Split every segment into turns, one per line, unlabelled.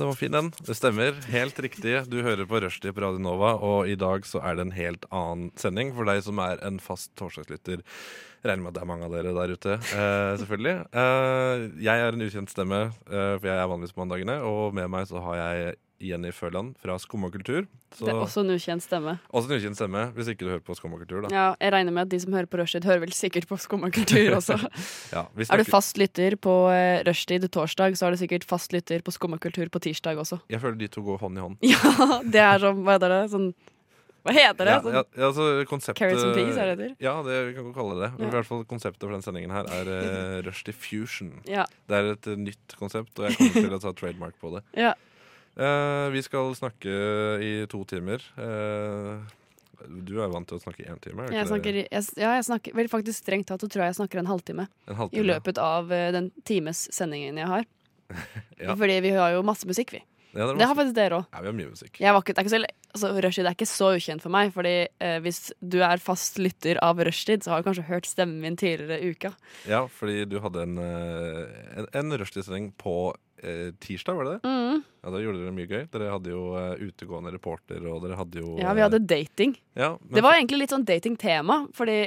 det var fin den. Det stemmer. Helt riktig. Du hører på Rushdie på Radio Nova, og i dag så er det en helt annen sending for deg som er en fast torsdagslytter. Regner med at det er mange av dere der ute, eh, selvfølgelig. Eh, jeg er en ukjent stemme, eh, for jeg er vanligvis på mandagene, og med meg så har jeg Jenny Føland fra Skumma kultur. Så,
Det er også en ukjent stemme.
også en ukjent stemme, hvis ikke du hører på Skumma kultur, da.
Ja, jeg regner med at de som hører på Rushtid, hører vel sikkert på Skumma kultur også.
Ja, vi
Er du
snakker-
fast lytter på eh, Rushtid torsdag, så er du sikkert fast lytter på Skumma kultur på tirsdag også.
Jeg føler de to går hånd i hånd.
Ja, det er sånn Hva heter det? Sånn Hva heter det?
Ja,
Sånn,
ja, ja, altså konseptet
Carrots and peas, er det det heter?
Ja, det vi kan godt kalle det. Men
Ja.
i hvert fall konseptet for den sendingen her er eh, Rush Diffusion.
ja.
Det er et eh, nytt konsept, og jeg kommer til å ta trademark på det.
ja.
Eh, vi skal snakke i to timer. Eh, du er vant til å snakke i én time? er du
Jeg
ikke
snakker,
det?
jeg, ja, jeg snakker vel faktisk strengt tatt så tror jeg jeg snakker en halvtime
en
i
halvtime.
løpet av eh, den times sendingen jeg har.
Ja.
Fordi vi har jo masse musikk, vi.
Ja, det er
Det har
masse-
faktisk dere òg.
ja, vi har mye musikk.
Jeg var ikke, det er ikke så, altså, Rushtid er ikke så ukjent for meg, Fordi eh, hvis du er fast lytter av rushtid, så har du kanskje hørt stemmen min tidligere i uka.
Ja, fordi du hadde en, eh, en, en rushtidssending på eh, tirsdag, var det det?
Mm.
Ja, Da gjorde dere mye gøy. Dere hadde jo eh, utegående reporter, og dere hadde jo eh,
Ja, vi hadde dating.
Ja, men
Det var egentlig litt sånn datingtema, fordi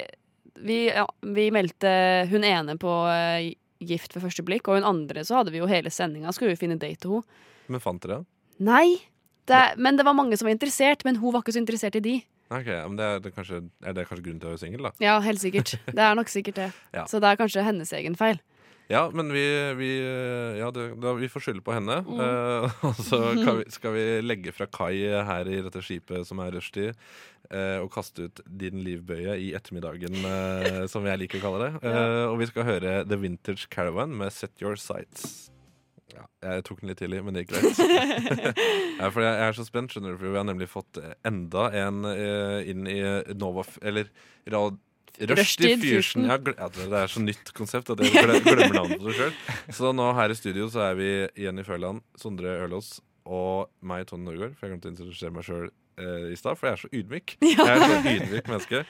vi, ja, vi meldte hun ene på eh, gift ved første blikk, og hun andre så hadde vi jo hele sendinga, skulle vi finne date til henne.
Men fant dere han?
Nei! Det, men det var mange som var interessert, men hun var ikke så interessert i de.
Nei, ok, ja, men det er, det er kanskje, er det kanskje grunnen til å være singel, da?
Ja, helt sikkert. Det er nok sikkert det.
Ja.
Så det er kanskje hennes egen feil.
Ja, men vi, vi, eh, ja, det, da, vi får skylde på henne. Eh, og så kan vi, skal vi legge fra kai her i dette skipet som er rushtid, eh, og kaste ut din livbøye i ettermiddagen, eh, som jeg liker å kalle det. Eh, og vi skal høre The Vintage Caravan med Set Your Sights. Ja, jeg tok den litt tidlig, men det gikk greit. ja, for jeg, jeg er så spent, skjønner du, for vi har nemlig fått eh, enda en eh, inn i Novaf, eller Rad... Rushdie
Rushdie
Fusion.
Fusion.
Ja, gle- ja, det er så nytt konsept at jeg gle- glemmer navnet på det sjøl. Så nå her i studio så er vi Jenny Førland, Sondre Ørlås og meg, Tone Norgård. For jeg glemte å introdusere meg sjøl eh, i stad, for jeg er så ydmyk. Jeg er så ydmyk menneske.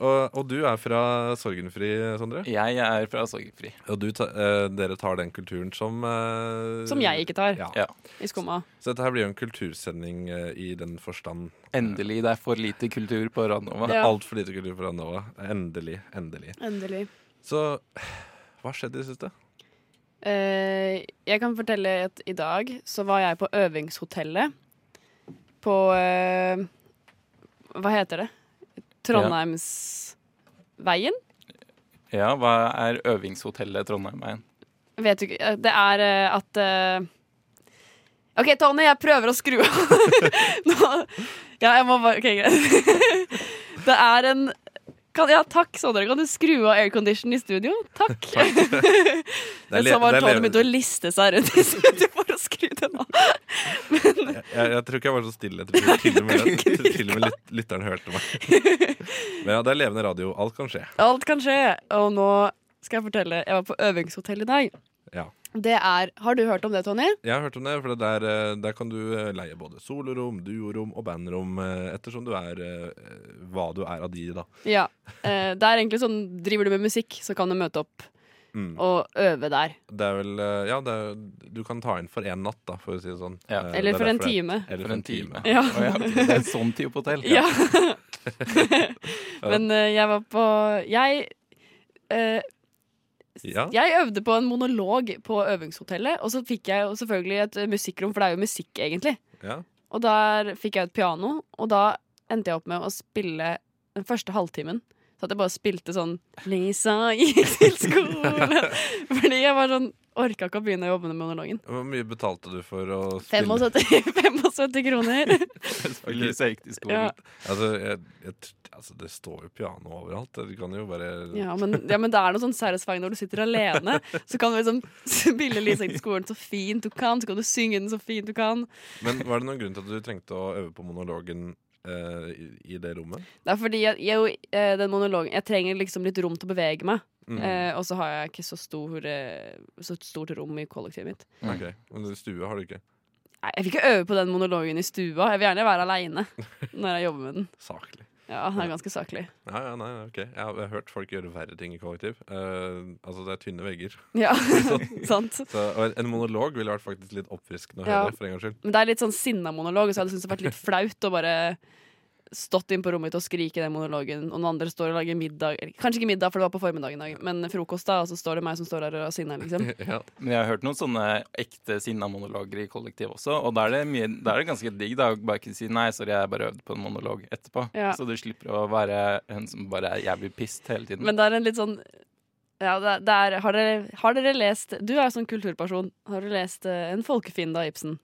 Og, og du er fra Sorgenfri, Sondre.
Jeg er fra Sorgfri.
Og du ta, eh, dere tar den kulturen som eh,
Som jeg ikke tar
Ja.
Ja.
i skumma.
Så dette her blir jo en kultursending eh, i den forstand.
Endelig, det er for lite kultur på Radnova.
Det
Ja.
er altfor lite kultur for Andova. Endelig. Endelig.
Endelig.
Så hva skjedde i det siste?
Eh, jeg kan fortelle at i dag så var jeg på øvingshotellet på eh, Hva heter det? Trondheimsveien?
Ja, hva er øvingshotellet Trondheimveien?
Vet du ikke eh, Det er eh, at eh, OK, Tony, jeg prøver å skru av. Nå, ja, jeg må bare OK, greit. Det er en kan, Ja, takk, Sondre. Kan du skru av aircondition i studio? Takk.
er
Men
le-
så var
det er
Tony
le-
begynte å liste seg rundt i studio for å skru den av.
Jeg, jeg tror ikke jeg var så stille. Jeg tror til og med, til, til og med lyt, lytteren hørte meg. Men ja, det er levende radio. Alt kan skje.
Alt kan skje. Og nå skal jeg fortelle. Jeg var på øvingshotell i dag.
Ja.
Det er Har du hørt om det, Tony?
Jeg har hørt om det, for det der, eh, der kan du eh, leie både solorom, duorom og bandrom, eh, ettersom du er eh, hva du er av de, da.
Ja. Eh, det er egentlig sånn Driver du med musikk, så kan du møte opp
Mm.
og øve der.
Det er vel eh, Ja, det er, du kan ta inn for én natt, da, for å si det sånn.
Ja.
Eh, det
Eller
er
for en
derfor det-
time.
Eller
For en time.
Ja.
Å ja, det er en sånn type hotell.
Ja. Men eh, jeg var på Jeg eh,
Ja.
Jeg øvde på en monolog på øvingshotellet, og så fikk jeg jo selvfølgelig et eh, musikkrom, for det er jo musikk, egentlig.
Ja.
Og der fikk jeg et piano, og da endte jeg opp med å spille den første halvtimen. Så at jeg bare spilte sånn Lisa gikk til skolen. Fordi jeg var sånn orka ikke å begynne å jobbe med monologen.
Hvor mye betalte du for å spille?
75, 75 kroner.
Spiller så hektisk skolen.
Ja.
Altså, jeg, jeg, tr- altså, det står jo piano overalt. Du kan jo bare
Ja men, ja, men det er noe sånn satisfying når du sitter alene. Så kan du liksom spille Lisek til skolen så fint du kan, så kan du synge den så fint du kan.
Men var det noen grunn til at du trengte å øve på monologen eh, i, i det rommet?
Det er fordi jeg, jeg, eh, den monologen Jeg trenger liksom litt rom til å bevege meg.
Mm.
Eh, og så har jeg ikke så, stor, eh, så stort rom i kollektivet mitt.
Ok, Men stue har du ikke.
Nei, Jeg vil ikke øve på den monologen i stua. Jeg vil gjerne være aleine når jeg jobber med den.
Saklig.
Ja, den er ganske saklig.
Ja, ja, nei, ok. Jeg har, jeg har hørt folk gjøre verre ting i kollektiv. Eh, altså, det er tynne vegger.
Ja, sant.
Så, og en- en monolog ville vært faktisk litt oppfriskende å
Ja.
høre. for en gangs skyld.
Men det er litt sånn sinna monolog, så jeg hadde syntes det vært litt flaut å bare stått inn på rommet mitt og skrike den monologen, og noen andre står og lager middag eller Kanskje ikke middag, for det var på formiddagen, i dag, men frokost, da, og så står det meg som står der og er sinna, liksom.
Ja.
Men jeg har hørt noen sånne ekte sinna monologer i kollektiv også, og da er det, mye, da er det ganske digg da, å bare kunne si nei, sorry, jeg bare øvde på en monolog etterpå.
Ja.
Så du slipper å være hun som bare er jævlig pissed hele tiden.
Men det er en litt sånn ja, det er, det er, har, dere, har dere lest Du er jo sånn kulturperson. Har dere lest eh, En folkefiende av Ibsen?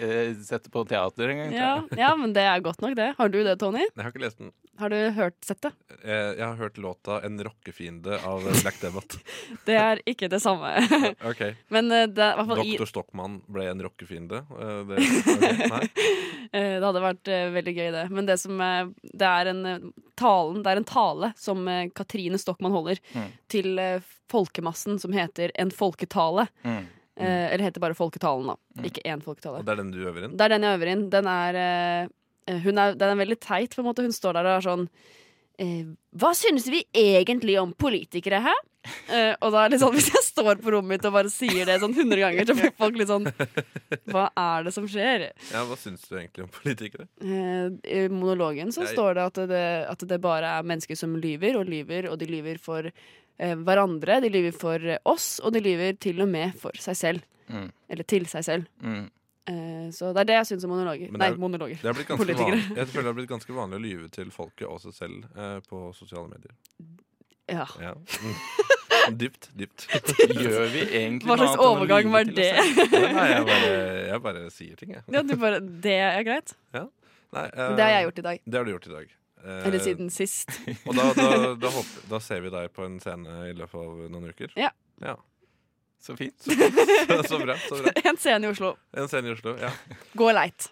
Eh, Sette på teater en gang.
Ja, ja, men det er godt nok, det. Har du det, Tony?
Jeg har ikke lest den.
Har du hørt sett det?
Eh, jeg har hørt låta 'En rockefiende' av Black Debbath.
Det er ikke det samme.
Ok.
Men eh, det, er i hvert fall i,
Doktor Stockmann ble en rockefiende. Eh, det, ok, nei.
Eh, Det hadde vært eh, veldig gøy, det. Men det, som, eh, det, er en, eh, talen, det er en tale som eh, Katrine Stokmann holder
Mm.
til eh, folkemassen, som heter En folketale.
Mm.
Eh, Eller heter bare Folketalen, da. Ikke én folketale.
Og det er den du øver inn?
Det er den jeg øver inn. Den er, eh, hun er, den er veldig teit, på en måte. Hun står der og er sånn eh, Hva synes vi egentlig om politikere, hæ? Eh, og da er det litt sånn, Hvis jeg står på rommet mitt og bare sier det sånn 100 ganger, så blir folk litt sånn Hva er det som skjer?
Ja, Hva syns du egentlig om politikere?
Eh, I monologen så
Jeg-
står det at, det at det bare er mennesker som lyver og lyver, og de lyver for eh, hverandre, de lyver for eh, oss, og de lyver til og med for seg selv.
Mm.
Eller til seg selv.
Mm.
Eh, så det er det jeg syns om monologer.
Men det
Nei,
er-
monologer.
Det er blitt ganske
Politikere.
vanlig, jeg føler det har blitt ganske vanlig å lyve til folket og seg selv eh, på sosiale medier.
Ja.
Ja. Mm. Dypt, dypt.
Gjør vi egentlig
Hva
noe
slags
annet enn å
overgang
lyve
var
til
det?
oss selv?
Nei, jeg bare, jeg bare sier ting, jeg.
Ja, du bare, det er greit.
Nei, eh,
Det har jeg gjort i dag.
Det har du gjort i dag. Eh,
Eller siden sist.
Og da, da, da, håper, da ser vi deg på en scene i løpet av noen uker.
Så fint.
Så, så bra. så bra
En scene i Oslo.
En scene i Oslo. Ja,
Gå leit.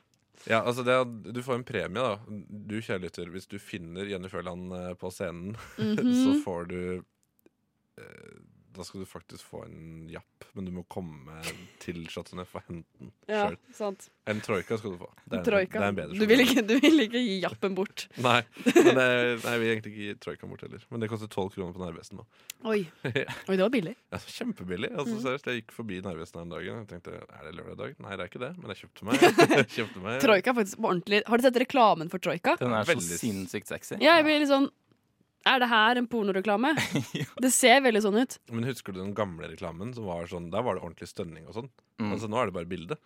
ja altså det, er- Du får en premie, da. Du kjærelytter, hvis du finner Jenny Føland eh, på scenen,
Mhm.
så får du eh, Da skal du faktisk få en japp, men du må komme til Chateau Neuf og hente den
Ja,
sjøl.
sant.
En troika skal du få. Det er, en-
Troika.
Det er en bedre
Du vil,
sjokolade.
ikke, du vil ikke gi jappen bort.
Nei, men det, nei, vi vil egentlig ikke gi troikaen bort heller. Men det koster tolv kroner på Narvesen nå.
Oi. Oi, det var billig.
Ja, så kjempebillig. Altså,
Mm.
seriøst, Jeg gikk forbi Narvesen her om dagen og tenkte er det lørdag i dag. Nei, det er ikke det, men jeg kjøpte meg. Jeg kjøpte meg
Troika er faktisk på ordentlig Har du sett reklamen for Troika?
Den er så
Veldig-
sinnssykt sexy.
Ja, jeg blir litt sånn Er det her en pornoreklame? Det ser veldig sånn ut.
Men husker du den gamle reklamen? som var sånn, Der var det ordentlig stønning og sånn.
Mm.
Altså, Nå er det bare bilde.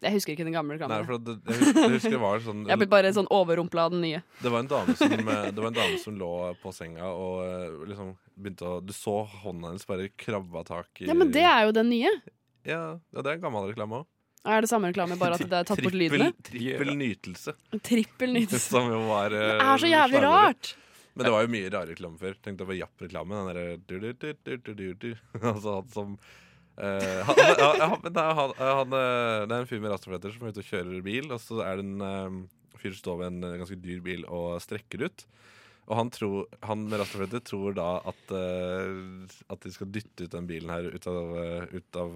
Jeg husker ikke den gamle
Nei,
reklamen.
for det, jeg husker, jeg husker det var sånn
jeg blir bare sånn overrumpla av den nye.
Det var en dame som, eh, det var en dame som lå på senga og eh, liksom begynte å Du så hånda hennes bare krabba tak i
Ja, Men det er jo den nye.
ja, ja, det er en gammel reklame òg.
Er det samme reklame, bare at det er tatt bort lydene?
Trippel nytelse.
Trippel nytt. Det eh,
Som jo var eh, Det
er så jævlig rart!
Men det var jo mye rare reklame før. Tenk deg på Japp-reklamen. Den derre du-du-du-du-du-du. Altså han som eh, han, han, han, men det er han, han, eh, Det er en fyr med rastafletter som er ute og kjører bil, og så er det en eh, fyr som står ved en eh, ganske dyr bil og strekker ut. Og han, tror, han med rastafletter tror da at, eh, at de skal dytte ut den bilen her ut av, eh, ut av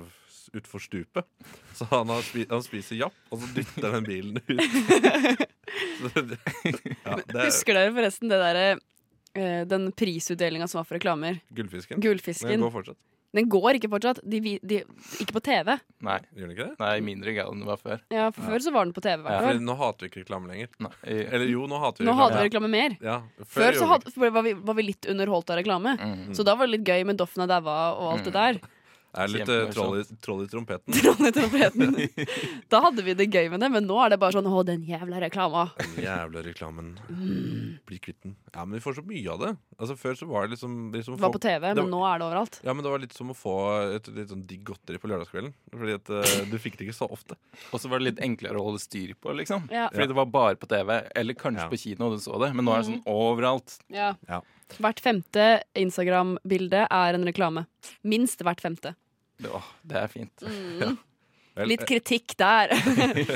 utfor stupet. Så han, har spi, han spiser japp, og så dytter han den bilen ut. ja, det er
Husker dere forresten det derre eh, den prisutdelinga som var for reklamer?
gullfisken. Men
Gullfisken.
går fortsatt.
Den går ikke fortsatt. De, vi- de, ikke på TV.
Nei,
Gjør den ikke det?
nei, mindre gal enn det var før.
Ja, for Før så var den på TV. i hvert fall.
Fordi nå hater vi ikke reklame lenger.
Nei, eh,
Eller jo, nå hater vi
Nå hadde vi
reklame.
reklame mer.
Ja,
Før så
gjorde
hadde, var, vi, var vi litt underholdt av reklame.
mm.
Mm.
Så da var det litt gøy med Doffen er daua og alt det der.
Det er litt eh, troll i, troll i trompeten.
Troll i trompeten. Da hadde vi det gøy med det, men nå er det bare sånn Å, den jævla reklama.
Den jævla reklamen.
Mm.
Bli kvitt den. Ja, men vi får så mye av det. Altså Før så var det liksom, liksom
Det var på TV,
det var-
men nå er det overalt.
Ja, men Det var litt som å få et litt sånn digg godteri på lørdagskvelden. Fordi at eh, du fikk det ikke så ofte.
Og så var det litt enklere å holde styr på, liksom.
Ja.
Fordi det var bare på TV, eller
Ja.
kanskje på kino du så det, men nå er det
Mm.
sånn overalt.
Ja.
Ja.
Hvert femte Instagram-bilde er en reklame. Minst hvert femte.
Det, åh, det er fint.
Mm.
Vel,
Litt kritikk der.
eh,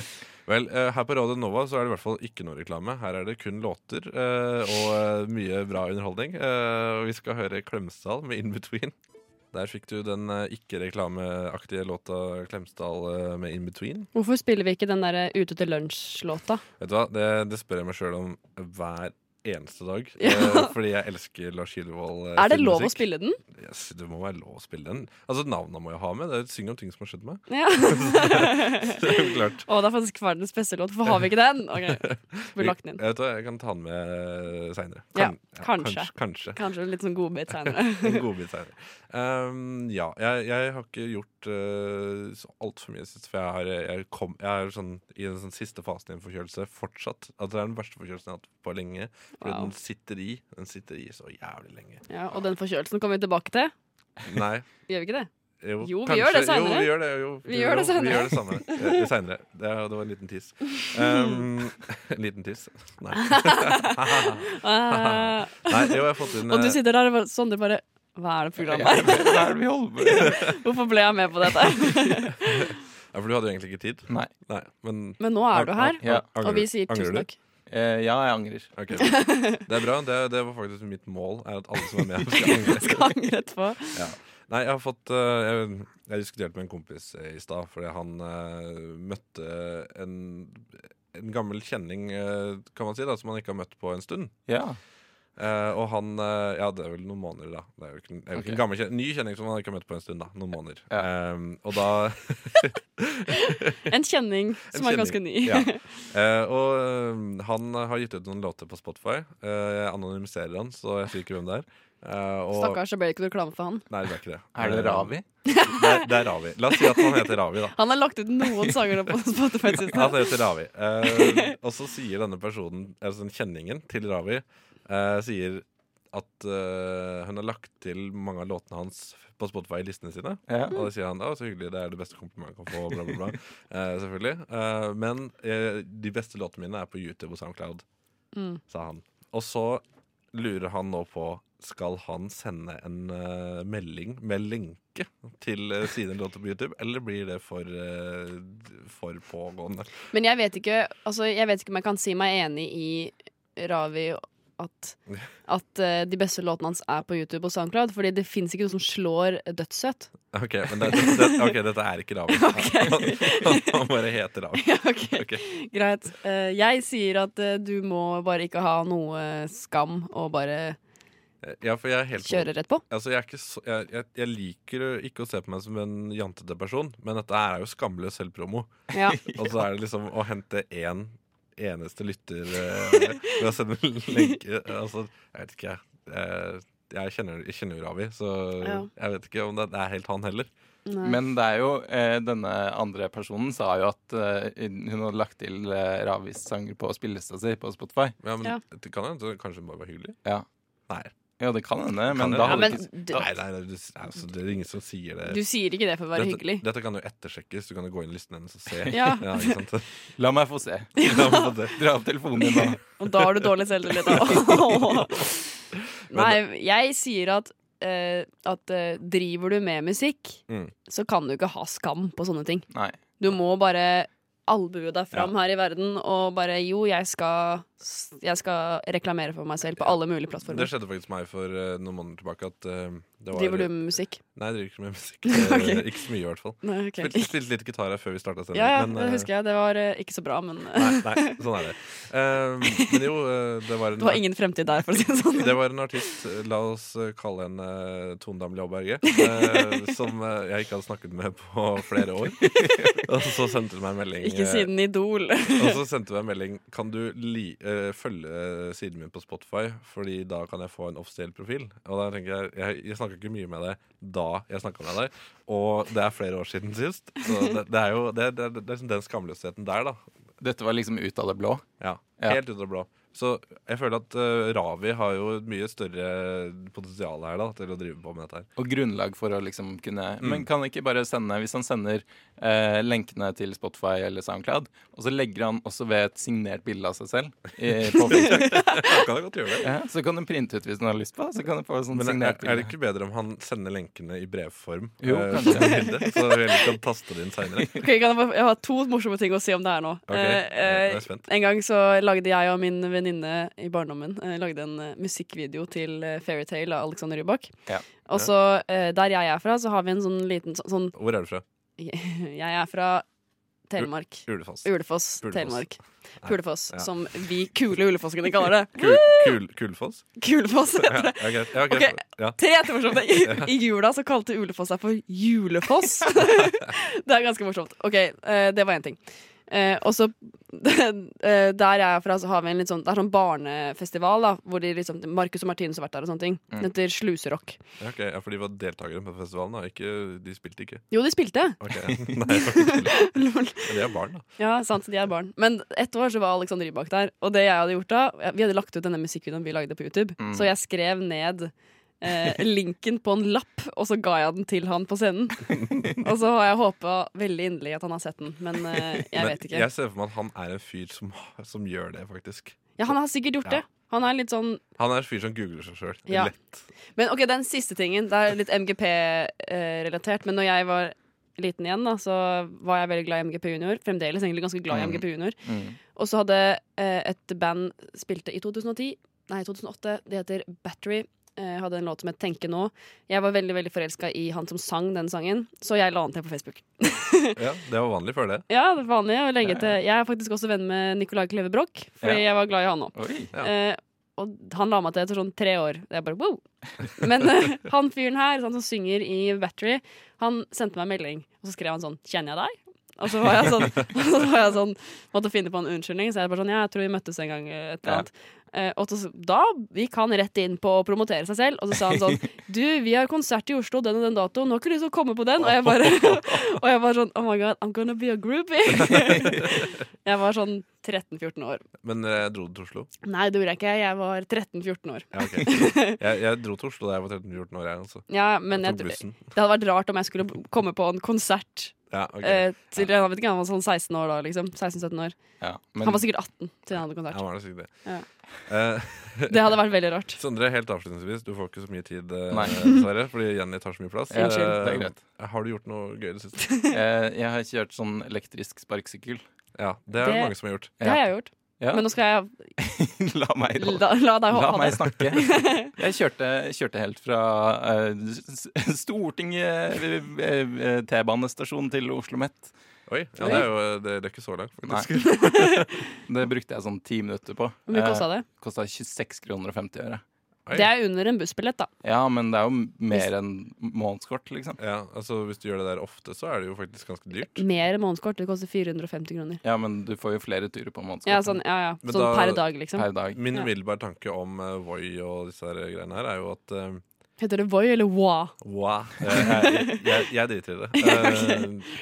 vel eh, her på Radio Nova så er det i hvert fall ikke noe reklame. Her er det kun låter eh, og eh, mye bra underholdning. Eh, og vi skal høre Klemsdal med In Between. Der fikk du den eh, ikke-reklameaktige låta Klemsdal eh, med In Between.
Hvorfor spiller vi ikke den der eh, Ute til lunsj-låta?
Vet du hva, Det, det spør jeg meg sjøl om hver eneste dag.
Ja.
eh, Fordi jeg elsker Lars Gilvold. eh,
Er det
sin
lov å
musikk.
spille den?
Yes, det må være lov å spille den. Altså Navna må jeg ha med. Det er Syng om ting som har skjedd meg.
Ja.
Det er jo klart.
Å, det er faktisk verdens beste låt. Hvorfor har vi ikke den? Ok, Burde lagt den inn.
Jeg, vet, hva, jeg kan ta den med eh, seinere.
Ja, kanskje.
kanskje.
Kanskje en litt sånn godbit seinere.
En godbit seinere. Um, ja, jeg, jeg har ikke gjort uh, så altfor mye sist, for jeg, har, jeg, kom, jeg er sånn, i den sånn siste fasen i en forkjølelse fortsatt. At det er den verste forkjølelsen jeg har hatt på lenge. For
Wow.
den sitter i Den sitter i så jævlig lenge.
Ja, og den forkjølelsen kommer vi tilbake til.
Nei.
Gjør vi ikke det?
Jo,
Jo, vi
kanskje-
gjør det
Jo,
senere.
vi gjør det, jo,
Vi gjør det
Jo, vi
senere.
gjør det samme. Eh, senere. Det, er- det var en liten tiss. Um, en liten tiss? Nei.
Eh,
Nei, jo, jeg har fått inn
og du
eh,
sitter der og bare- Sondre bare Hva er det
Hva
programmet
er
er?
det vi holder på med?
Hvorfor ble jeg med på dette?
Ja, for du hadde jo egentlig ikke tid.
Nei.
Nei, men
Men nå er du her,
Ja.
angrer
og vi
du?
sier
Angrer du?
tusen takk.
Eh, ja, jeg angrer.
Ok, Det er bra. Det, det var faktisk mitt mål. Er at alle som er med, skal angre.
Skal angre etterpå.
Nei, jeg har fått eh, Jeg, jeg diskuterte med en kompis eh, i stad, fordi han eh, møtte en, en gammel kjenning, eh, kan man si, da, som han ikke har møtt på en stund.
Ja.
Eh, og han eh, Ja, det er vel noen måneder, da. Det er jo ikke, det er jo ikke
Ok.
en gammel kjen ny kjenning som han ikke har møtt på en stund. da Noen måneder.
Ja.
Eh, og da
En kjenning som er
kjenning.
ganske ny.
ja. Eh, og eh, han har gitt ut noen låter på Spotify. Eh, jeg anonymiserer han, så jeg sier ikke hvem det er. Eh, og,
Stakkars, det ble ikke noe reklame for han.
Nei, det er ikke det.
Er det
Eh,
Ravi?
Det er, det er Ravi. La oss si at han heter Ravi, da.
Han har lagt ut noen sanger nå på Spotify sist.
Han heter Ravi. Eh, og så sier denne personen, altså den kjenningen til Ravi, eh, sier at eh, hun har lagt til mange av låtene hans på Spotify i listene sine.
Ja.
Og da sier han 'Å, så hyggelig, det er det beste komplimentet man kan få', bla, bla, bla. Eh, selvfølgelig. Eh, men eh, de beste låtene mine er på YouTube og SoundCloud,
Mm.
sa han. Og så lurer han nå på skal han sende en eh, melding med lenke til eh, sine låter på YouTube, eller blir det for, eh, for pågående?
Men jeg vet, ikke, altså, jeg vet ikke om jeg kan si meg enig i Ravi at, at eh, de beste låtene hans er på YouTube og SoundCloud, fordi det fins ikke noe som slår dødssøt.
Ok, men det, det, ok, dette er ikke Ravi. Han, han bare heter Ravi.
Ja, ok,
Ok.
Greit. Eh, jeg sier at eh, du må bare ikke ha noe skam og bare
Ja, for jeg er helt
kjøre rett på.
Altså, jeg, er ikke så, jeg, jeg, jeg liker ikke å se på meg som en jantete person, men dette her er jo skamløs selvpromo.
Ja.
Og så er det liksom å hente én eneste lytter eh, ved å sende en lenke Altså, jeg vet ikke, jeg. Eh, Jeg kjenner, jeg kjenner jo Ravi, så
Ja.
jeg vet ikke om det, det er helt han heller.
Nei.
Men det er jo, eh, denne andre personen sa jo at eh, hun hadde lagt til eh, Ravis sanger på spillelista si på Spotify.
Ja, men
Ja.
Det kan hende, så kanskje hun bare var hyggelig?
Ja.
Nei.
Ja, det kan hende,
Kan
men
det?
da
ja,
hadde
men
ikke
du,
Nei, nei, nei, det, altså, det er ingen som sier det.
du sier ikke det for å være
dette,
hyggelig.
Dette kan jo ettersjekkes. Du kan jo gå inn i listen hennes og se.
Ja.
ikke sant?
La meg få se.
Ja, men det-
Dra opp telefonen din nå.
Og da har du dårlig selvtillit. da. Nei, jeg sier at, eh, at eh, driver du med musikk,
Mm.
så kan du ikke ha skam på sånne ting.
Nei.
Du må bare albue deg fram her i verden og bare Jo, jeg skal, jeg skal reklamere for meg selv på alle mulige
Det
plattformer.
skjedde faktisk meg for eh, noen måneder tilbake. At, eh, det var,
Driver du med musikk?
Nei, jeg driver ikke med musikk. Eh,
Ok.
Ikke så mye, i hvert fall.
Nei, ok.
Spilte, spilte litt gitar her før vi starta sendingen.
Ja, ja,
men,
det
eh,
husker jeg. Det var eh, ikke så bra, men
Nei, nei, sånn er det. Eh, men jo, eh, det var en
Det var ingen fremtid der, for å si det sånn.
Det var en artist, la oss eh, kalle henne eh, Tone Damli Aaberge, eh, som eh, jeg ikke hadde snakket med på flere år. Og så sendte hun meg en melding.
Ikke
eh,
siden Idol.
Og så sendte hun meg en melding Kan du li eh, følge siden min på Spotify, Fordi da kan jeg få en offisiell profil. Og da tenker jeg Jeg, jeg snakka ikke mye med deg da jeg snakka med deg, og det er flere år siden sist. Så det, det er jo det, det, det er liksom den skamløsheten der, da.
Dette var liksom ut av det blå.
Ja,
Ja.
Helt ut av det blå. Så jeg føler at eh, Ravi har jo et mye større potensial her da til å drive på med dette. her
Og grunnlag for å liksom kunne
Mm.
Men kan ikke bare sende Hvis han sender eh, lenkene til Spotify eller SoundCloud, og så legger han også ved et signert bilde av seg selv i, på Facebook,
Han kan godt gjøre det
ja, så kan du printe ut hvis du har lyst på. Så kan du få sånn
Men er,
signert
er det
bilde.
ikke bedre om han sender lenkene i brevform?
Jo,
eh,
kanskje.
som et bilde, så vi heller kan taste det inn seinere?
Ok, kan jeg, bare, jeg har to morsomme ting å si om det her nå.
Ok,
Eh,
jeg er
eh,
spent.
en gang så lagde jeg og min venninne i barndommen eh, Lagde en eh, musikkvideo til eh, Fairytale av Alexander Rybak.
Ja.
Og så, eh, der jeg er fra, så har vi en sånn liten så- sånn
Hvor er du fra?
Jeg er fra Telemark.
Ulefoss.
Ulefoss,
Ulefoss.
Telemark. Pulefoss,
ja.
som vi kule ulefossene kaller det.
Kul, kul, kulfoss?
Kulefoss
Ja,
heter det.
ja, greit. Ja, greit.
Ok.
Ja.
Tre etter morsomt. I, I jula så kalte Ulefoss seg for Julefoss. det er ganske morsomt. Ok, eh, det var én ting. Eh, og så eh, Der jeg er fra, så har vi en litt sånn Det er sånn barnefestival, da, hvor de liksom Marcus og Martinus har vært der og sånne ting. Det heter Sluserock.
Ja, ok. ja, for de var deltakere på festivalen, da. Ikke, de spilte ikke.
Jo, de spilte!
Ok, Nei, jeg får ikke spille. Men de er barn, da.
Ja, sant, de er barn. Men ett år så var Alexander Rybak der. Og det jeg hadde gjort da Vi hadde lagt ut denne musikkvideoen vi lagde på YouTube,
Mm.
så jeg skrev ned eh, linken på en lapp, og så ga jeg den til han på scenen. og så har jeg håpa veldig inderlig at han har sett den, men eh, jeg
Men
vet ikke.
Jeg ser for meg at han er en fyr som, som gjør det, faktisk.
Ja, han har sikkert gjort
Ja.
det. Han er litt sånn
Han er en fyr som googler seg sjøl.
Ja.
Lett.
Men ok, den siste tingen, det er litt MGP-relatert, men når jeg var liten igjen, da, så var jeg veldig glad i MGP Junior. Fremdeles egentlig ganske glad i
Mm.
MGP Junior.
Mm.
Og så hadde eh, et band spilte i 2010, nei 2008, det heter Battery. Eh, hadde en låt som het Tenke nå. Jeg var veldig veldig forelska i han som sang den sangen, så jeg la den til på Facebook.
Ja, det var vanlig før det.
Ja, det vanlige å legge
Ja, ja.
til. Jeg er faktisk også venn med Nicolai Kleve Broch, fordi jeg var glad i han òg.
Oi.
Ja.
Eh, og han la meg til etter sånn tre år. Det er bare wow! Men eh, han fyren her, han som synger i Battery, han sendte meg en melding, og så skrev han sånn 'Kjenner jeg deg?' Og så var jeg sånn, og så var jeg sånn måtte finne på en unnskyldning. Så jeg bare sånn 'Ja, jeg tror vi møttes en gang', eh, et eller
Ja.
annet. Eh, og så, da gikk han rett inn på å promotere seg selv, og så sa han sånn 'Du, vi har konsert i Oslo den og den datoen, har ikke du lyst til å komme på den?' Og jeg bare, og jeg bare sånn 'Oh my God, I'm gonna be a groupie'. jeg var sånn 13-14 år.
Men eh, jeg dro du til Oslo?
Nei, det gjorde jeg ikke. Jeg var 13-14 år.
Ja, ok. Jeg, jeg dro til Oslo da jeg var 13-14 år. Jeg, altså.
Ja, men jeg,
Tok
tror-
bussen.
det hadde vært rart om jeg skulle b- komme på en konsert
Ja, ok.
eh, til jeg vet ikke, han var sånn 16 år da, liksom. 16-17 år.
Ja, men
Han var sikkert 18 til han hadde
Jeg
konsert.
var det sikkert det.
Ja.
Eh,
Det hadde vært veldig rart.
Sondre, helt avslutningsvis, du får ikke så mye tid, eh,
Nei.
dessverre, fordi Jenny tar så mye plass.
Ja,
Eh,
det er greit.
Har du gjort noe gøy i det siste?
eh, jeg har kjørt sånn elektrisk sparkesykkel.
Ja, det er det
Det-
mange som har gjort.
Det har jeg gjort.
Ja.
Men nå skal
la meg
jeg la, la deg
La
ha
meg
det.
snakke. Jeg kjørte, kjørte helt fra eh, s- s- Stortinget eh, eh, T-banestasjon til Oslo Met.
Oi, ja, det, er jo, det, det er ikke så langt,
Nei.
faktisk.
Det brukte jeg sånn ti minutter på.
Hvor mye kosta det?
Kosta 26 kroner og 50 øre.
Oi.
Det er under en bussbillett, da.
Ja, men det er jo mer enn månedskort, liksom.
Ja, altså Hvis du gjør det der ofte, så er det jo faktisk ganske dyrt.
Mer månedskort. Det koster 450 kroner.
Ja, men du får jo flere turer på månedskort
Ja, sånn, ja, ja.
Men
sånn
da-
per dag, liksom.
per dag.
Min
Ja.
umiddelbare tanke om uh, Voi og disse her greiene her er jo at eh,
Heter det Voi eller Wa?
Wow. Jeg, jeg, jeg, jeg driter i det. Eh,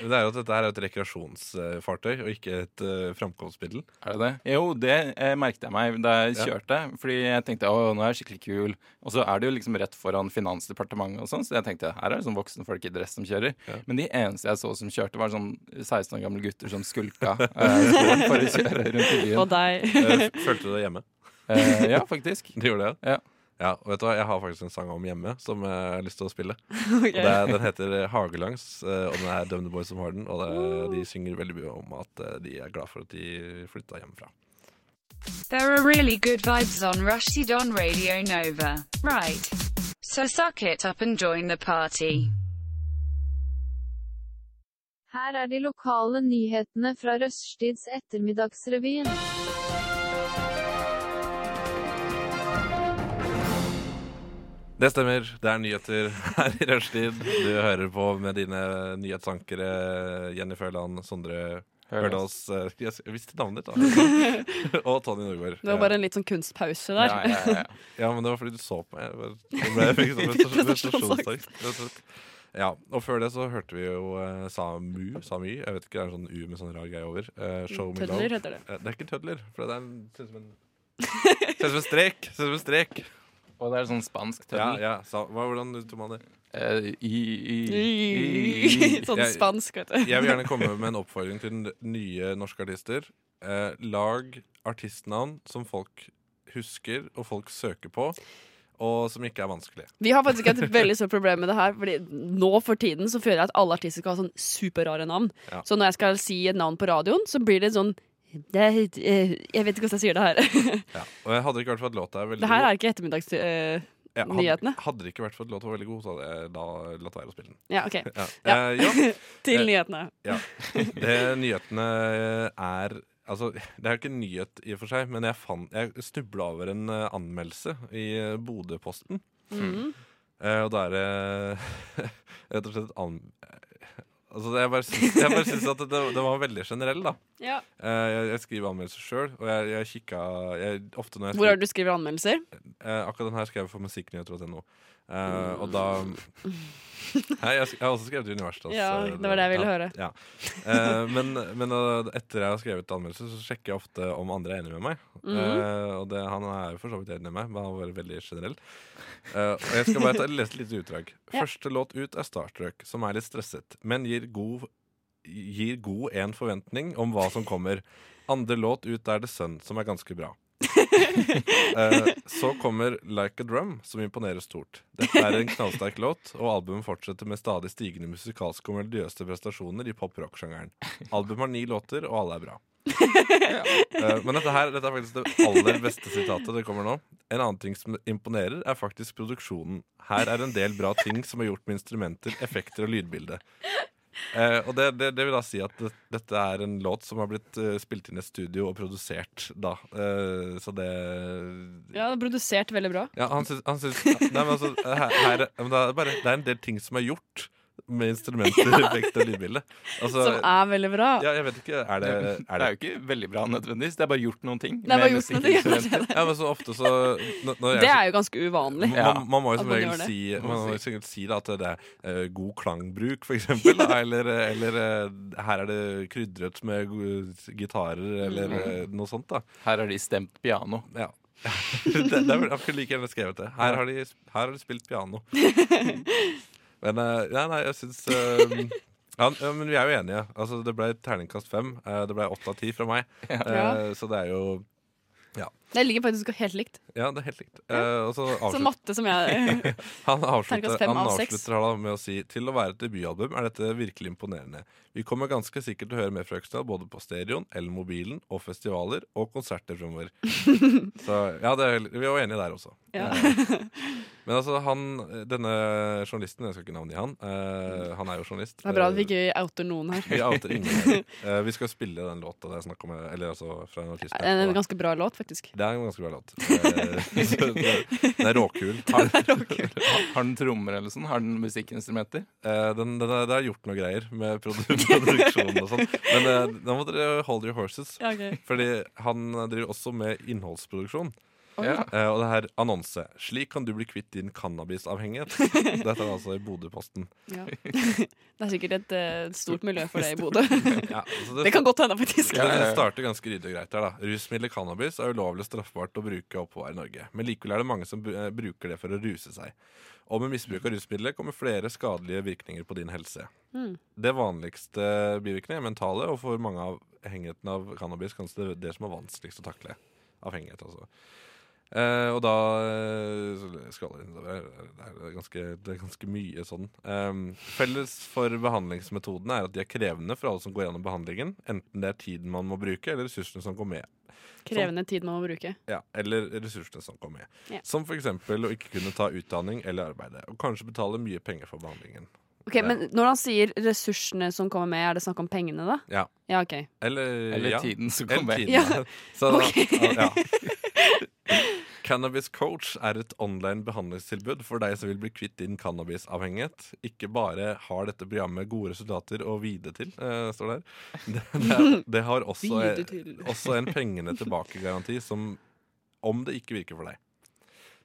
Det er jo at dette her er et rekreasjonsfartøy, og ikke et eh, framkomstmiddel.
Er det det? Jo, det eh, merket jeg meg da jeg kjørte. Fordi jeg tenkte å, nå er jeg skikkelig kul. Og så er det jo liksom rett foran Finansdepartementet og sånn, så jeg tenkte her er det sånn voksne folk i dress som kjører. Men de eneste jeg så som kjørte, var sånn 16 år gamle gutter som skulka eh, skolen for å kjøre rundt i
Og
byen.
deg.
Eh, f- Følte du det hjemme?
Eh, ja, faktisk.
Du gjorde det?
Ja.
Ja, og vet du hva, Jeg har faktisk en sang om hjemme som jeg har lyst til å spille.
Ok.
Og det, er- den heter eh, 'Hagelangs', eh, og den er Dumb The Boys som har den. Og det, de synger veldig mye om at eh, de er glad for at de flytta hjemmefra.
There are really good vibes on Rushdie on Radio Nova. Right. So suck it up and join the party.
Her er de lokale nyhetene fra Røststids ettermiddagsrevyen.
Det stemmer. Det er nyheter her i rushtid. Du hører på med dine nyhetsankere Jenny Føland, Sondre Hørdås eh, Jeg visste navnet ditt, da. Og Tonje Norgård.
Det var bare en litt sånn kunstpause der.
Ja, ja, ja.
Ja, men det var fordi du så på meg. Jeg bare- Jeg ble, jeg fikk sånn
Litt
prestasjon-
prestasjonsangst.
prestasjonsangst, rett og slett. Ja, og før det så hørte vi jo eh, Samu, Samy, jeg vet ikke, det er en sånn U med sånn rar greie over. Eh, show me
Tødler
love.
heter det.
Eh, det er ikke tødler, for det er en, ser ut som en Ser ut som en strek! Ser ut som en strek.
Og det er sånn spansk
Ja,
tøddel.
ja, sa, hva, hvordan tok man det?
Eh, i, i, i, i.
Sånn
Jeg-
spansk, vet du.
Jeg vil gjerne komme med en oppfordring til n- nye norske artister. Eh, lag artistnavn som folk husker, og folk søker på, og som ikke er vanskelige.
Vi har faktisk et veldig stort problem med det her. Fordi nå for tiden så føler jeg at alle artister skal ha sånn superrare navn.
Ja.
Så når jeg skal si et navn på radioen, så blir det sånn det er, eh, Jeg vet ikke hvordan jeg sier det her.
Ja. Og jeg hadde ikke vært for at låta er veldig
Det her er ikke ettermiddags... eh,
Ja, hadde,
nyhetene.
Hadde det ikke vært for at låta var veldig god, så hadde jeg da latt være å spille den.
ja, OK.
Ja.
Ja.
Eh, ja.
Til
Eh,
nyhetene.
ja. Det nyhetene eh, er Altså, Det er jo ikke en nyhet i og for seg, men jeg, fant- jeg snubla over en eh, anmeldelse i eh, Bodø-posten.
Mhm.
Eh, og da er det rett og slett an... Altså, jeg bare syns, jeg bare syns at det, det var veldig generell, da.
Ja.
Eh, jeg, jeg skriver anmeldelser sjøl, og jeg, jeg kikka jeg, ofte når jeg
Hvor er det du skriver anmeldelser?
Eh, akkurat den her skrev jeg for musikknyheter.no. Eh, og da Nei, jeg, sk- jeg har også skrevet Universitas.
Ja,
eh,
det var det jeg ville
ja,
høre.
Ja. Eh, men men eh, etter jeg har skrevet anmeldelse, så sjekker jeg ofte om andre er enig med meg.
Mhm.
Eh, og det, han er jo for så vidt enig med meg, men han var veldig generell. Eh, og jeg skal bare ta, lese et lite utdrag.
Ja.
Første låt ut er Starstruck, som er litt stresset, men gir god Gir god en forventning om hva som kommer. Andre låt ut er The Sun, som er ganske bra. Eh, så kommer Like a Drum, som imponerer stort. Dette er en knallsterk låt, og albumet fortsetter med stadig stigende musikalske og melodiøse prestasjoner i pop-rock-sjangeren. Albumet har ni låter, og alle er bra. Eh, men dette, her, dette er faktisk det aller beste sitatet. Det kommer nå. En annen ting som imponerer, er faktisk produksjonen. Her er en del bra ting som er gjort med instrumenter, effekter og lydbilde. Eh, og det, det, det vil da si at det, dette er en låt som har blitt eh, spilt inn i et studio og produsert da. Eh, så det
Ja, det er produsert veldig bra.
ja, han syns, han syns Nei, men altså her, her, men det, er bare, det er en del ting som er gjgjort med instrumenter, effekter og lydbilde. Altså,
Som er veldig bra.
ja, jeg vet ikke, er det, er
det
det
er jo ikke veldig bra nødvendigvis. Det er bare gjort noen ting.
er bare
med
gjort noen ting,
musikkinstrumenter.
Ja, men så ofte så når- når jeg-
Det er jo ganske uvanlig.
Ja.
man, man må jo
at
som
man
regel
gjør det.
si, man må jo som regel si da, at det er eh, god klangbruk, for eksempel. Da, eller eller eh, her er det krydret med go- gitarer, eller
Mm.
eh, noe sånt. da
Her har de stemt piano.
Ja det, det er vel jeg kunne like gjerne skrevet det. Her har de, her har de spilt piano. Men eh, nei, nei, jeg syns eh, ja, ja, men vi er jo enige. Altså, det ble terningkast fem. eh, det ble åtte av ti fra meg. Eh, så det er jo
Det ligger faktisk helt likt.
Ja, det er helt likt. Eh, og så
Så
avslutter
matte som jeg
han, avslutter,
Terningkast fem
han
av seks.
avslutter her da med å si Til å være et debutalbum er dette virkelig imponerende. Vi kommer ganske sikkert til å høre mer fra Øksdal både på stereoen eller mobilen og festivaler og konserter fremover. Så ja, det er, vi var enige der også.
Ja.
Men altså, han, denne journalisten, jeg skal ikke navngi han, eh, han er jo journalist. Eh,
Det er bra at vi ikke outer noen her.
Vi outer ingen her. Eh, vi skal spille den låta det er snakk om, eh, eller altså fra en artist.
Det er En ganske bra låt, faktisk.
Det er en ganske bra låt. Eh, så det- Den er råkul. Han,
Har, har den trommer eller sånn? Har den musikkinstrumenter?
eh, den, den, er- det er gjort noe greier med produ produksjonen og sånn. Men eh, da må dere hold your horses.
Ja, ok.
Fordi han driver også med innholdsproduksjon.
Ja.
Eh, og det her annonse. Slik kan du bli kvitt din cannabisavhengighet. Dette er altså i Bodø-posten.
Ja. Det er sikkert et eh, stort miljø for det i Bodø.
Ja, så
Det kan godt hende, faktisk.
Det
Ja, ja, ja.
starter ganske ryddig og greit her, da. Rusmiddelet cannabis er ulovlig og straffbart å bruke og oppbevare i Norge. Men likevel er det mange som bu- eh, bruker det for å ruse seg. Og med misbruk av rusmidler kommer flere skadelige virkninger på din helse.
Mm.
Det vanligste bivirkningen er mentale, og for mange av avhengigheten av cannabis kanskje det, det som er vanskeligst å takle. Avhengighet, altså. Eh, og da eh, så scroller jeg innover her. Det er ganske, det er ganske mye sånn. Ehm, felles for behandlingsmetodene er at de er krevende for alle som går gjennom behandlingen. Enten det er tiden man må bruke, eller ressursene som går med.
Krevende tid man må bruke.
Ja, eller ressursene som går med.
Ja.
Som f.eks. å ikke kunne ta utdanning eller arbeide. Og kanskje betale mye penger for behandlingen.
Ok, Men når han sier ressursene som kommer med, er det snakk om pengene, da?
Ja.
Ja, ok.
Eller,
Eller
ja.
tiden som
Eller
kommer.
tiden.
Ja.
Så da-
Ok.
ja.
Ok,
Cannabis Coach er et online behandlingstilbud for deg som vil bli kvitt din cannabisavhengighet. Ikke bare har dette programmet gode resultater å vide til, eh, står det her. Det, det, det har også,
Vide til.
også en pengene tilbake-garanti som om det ikke virker for deg.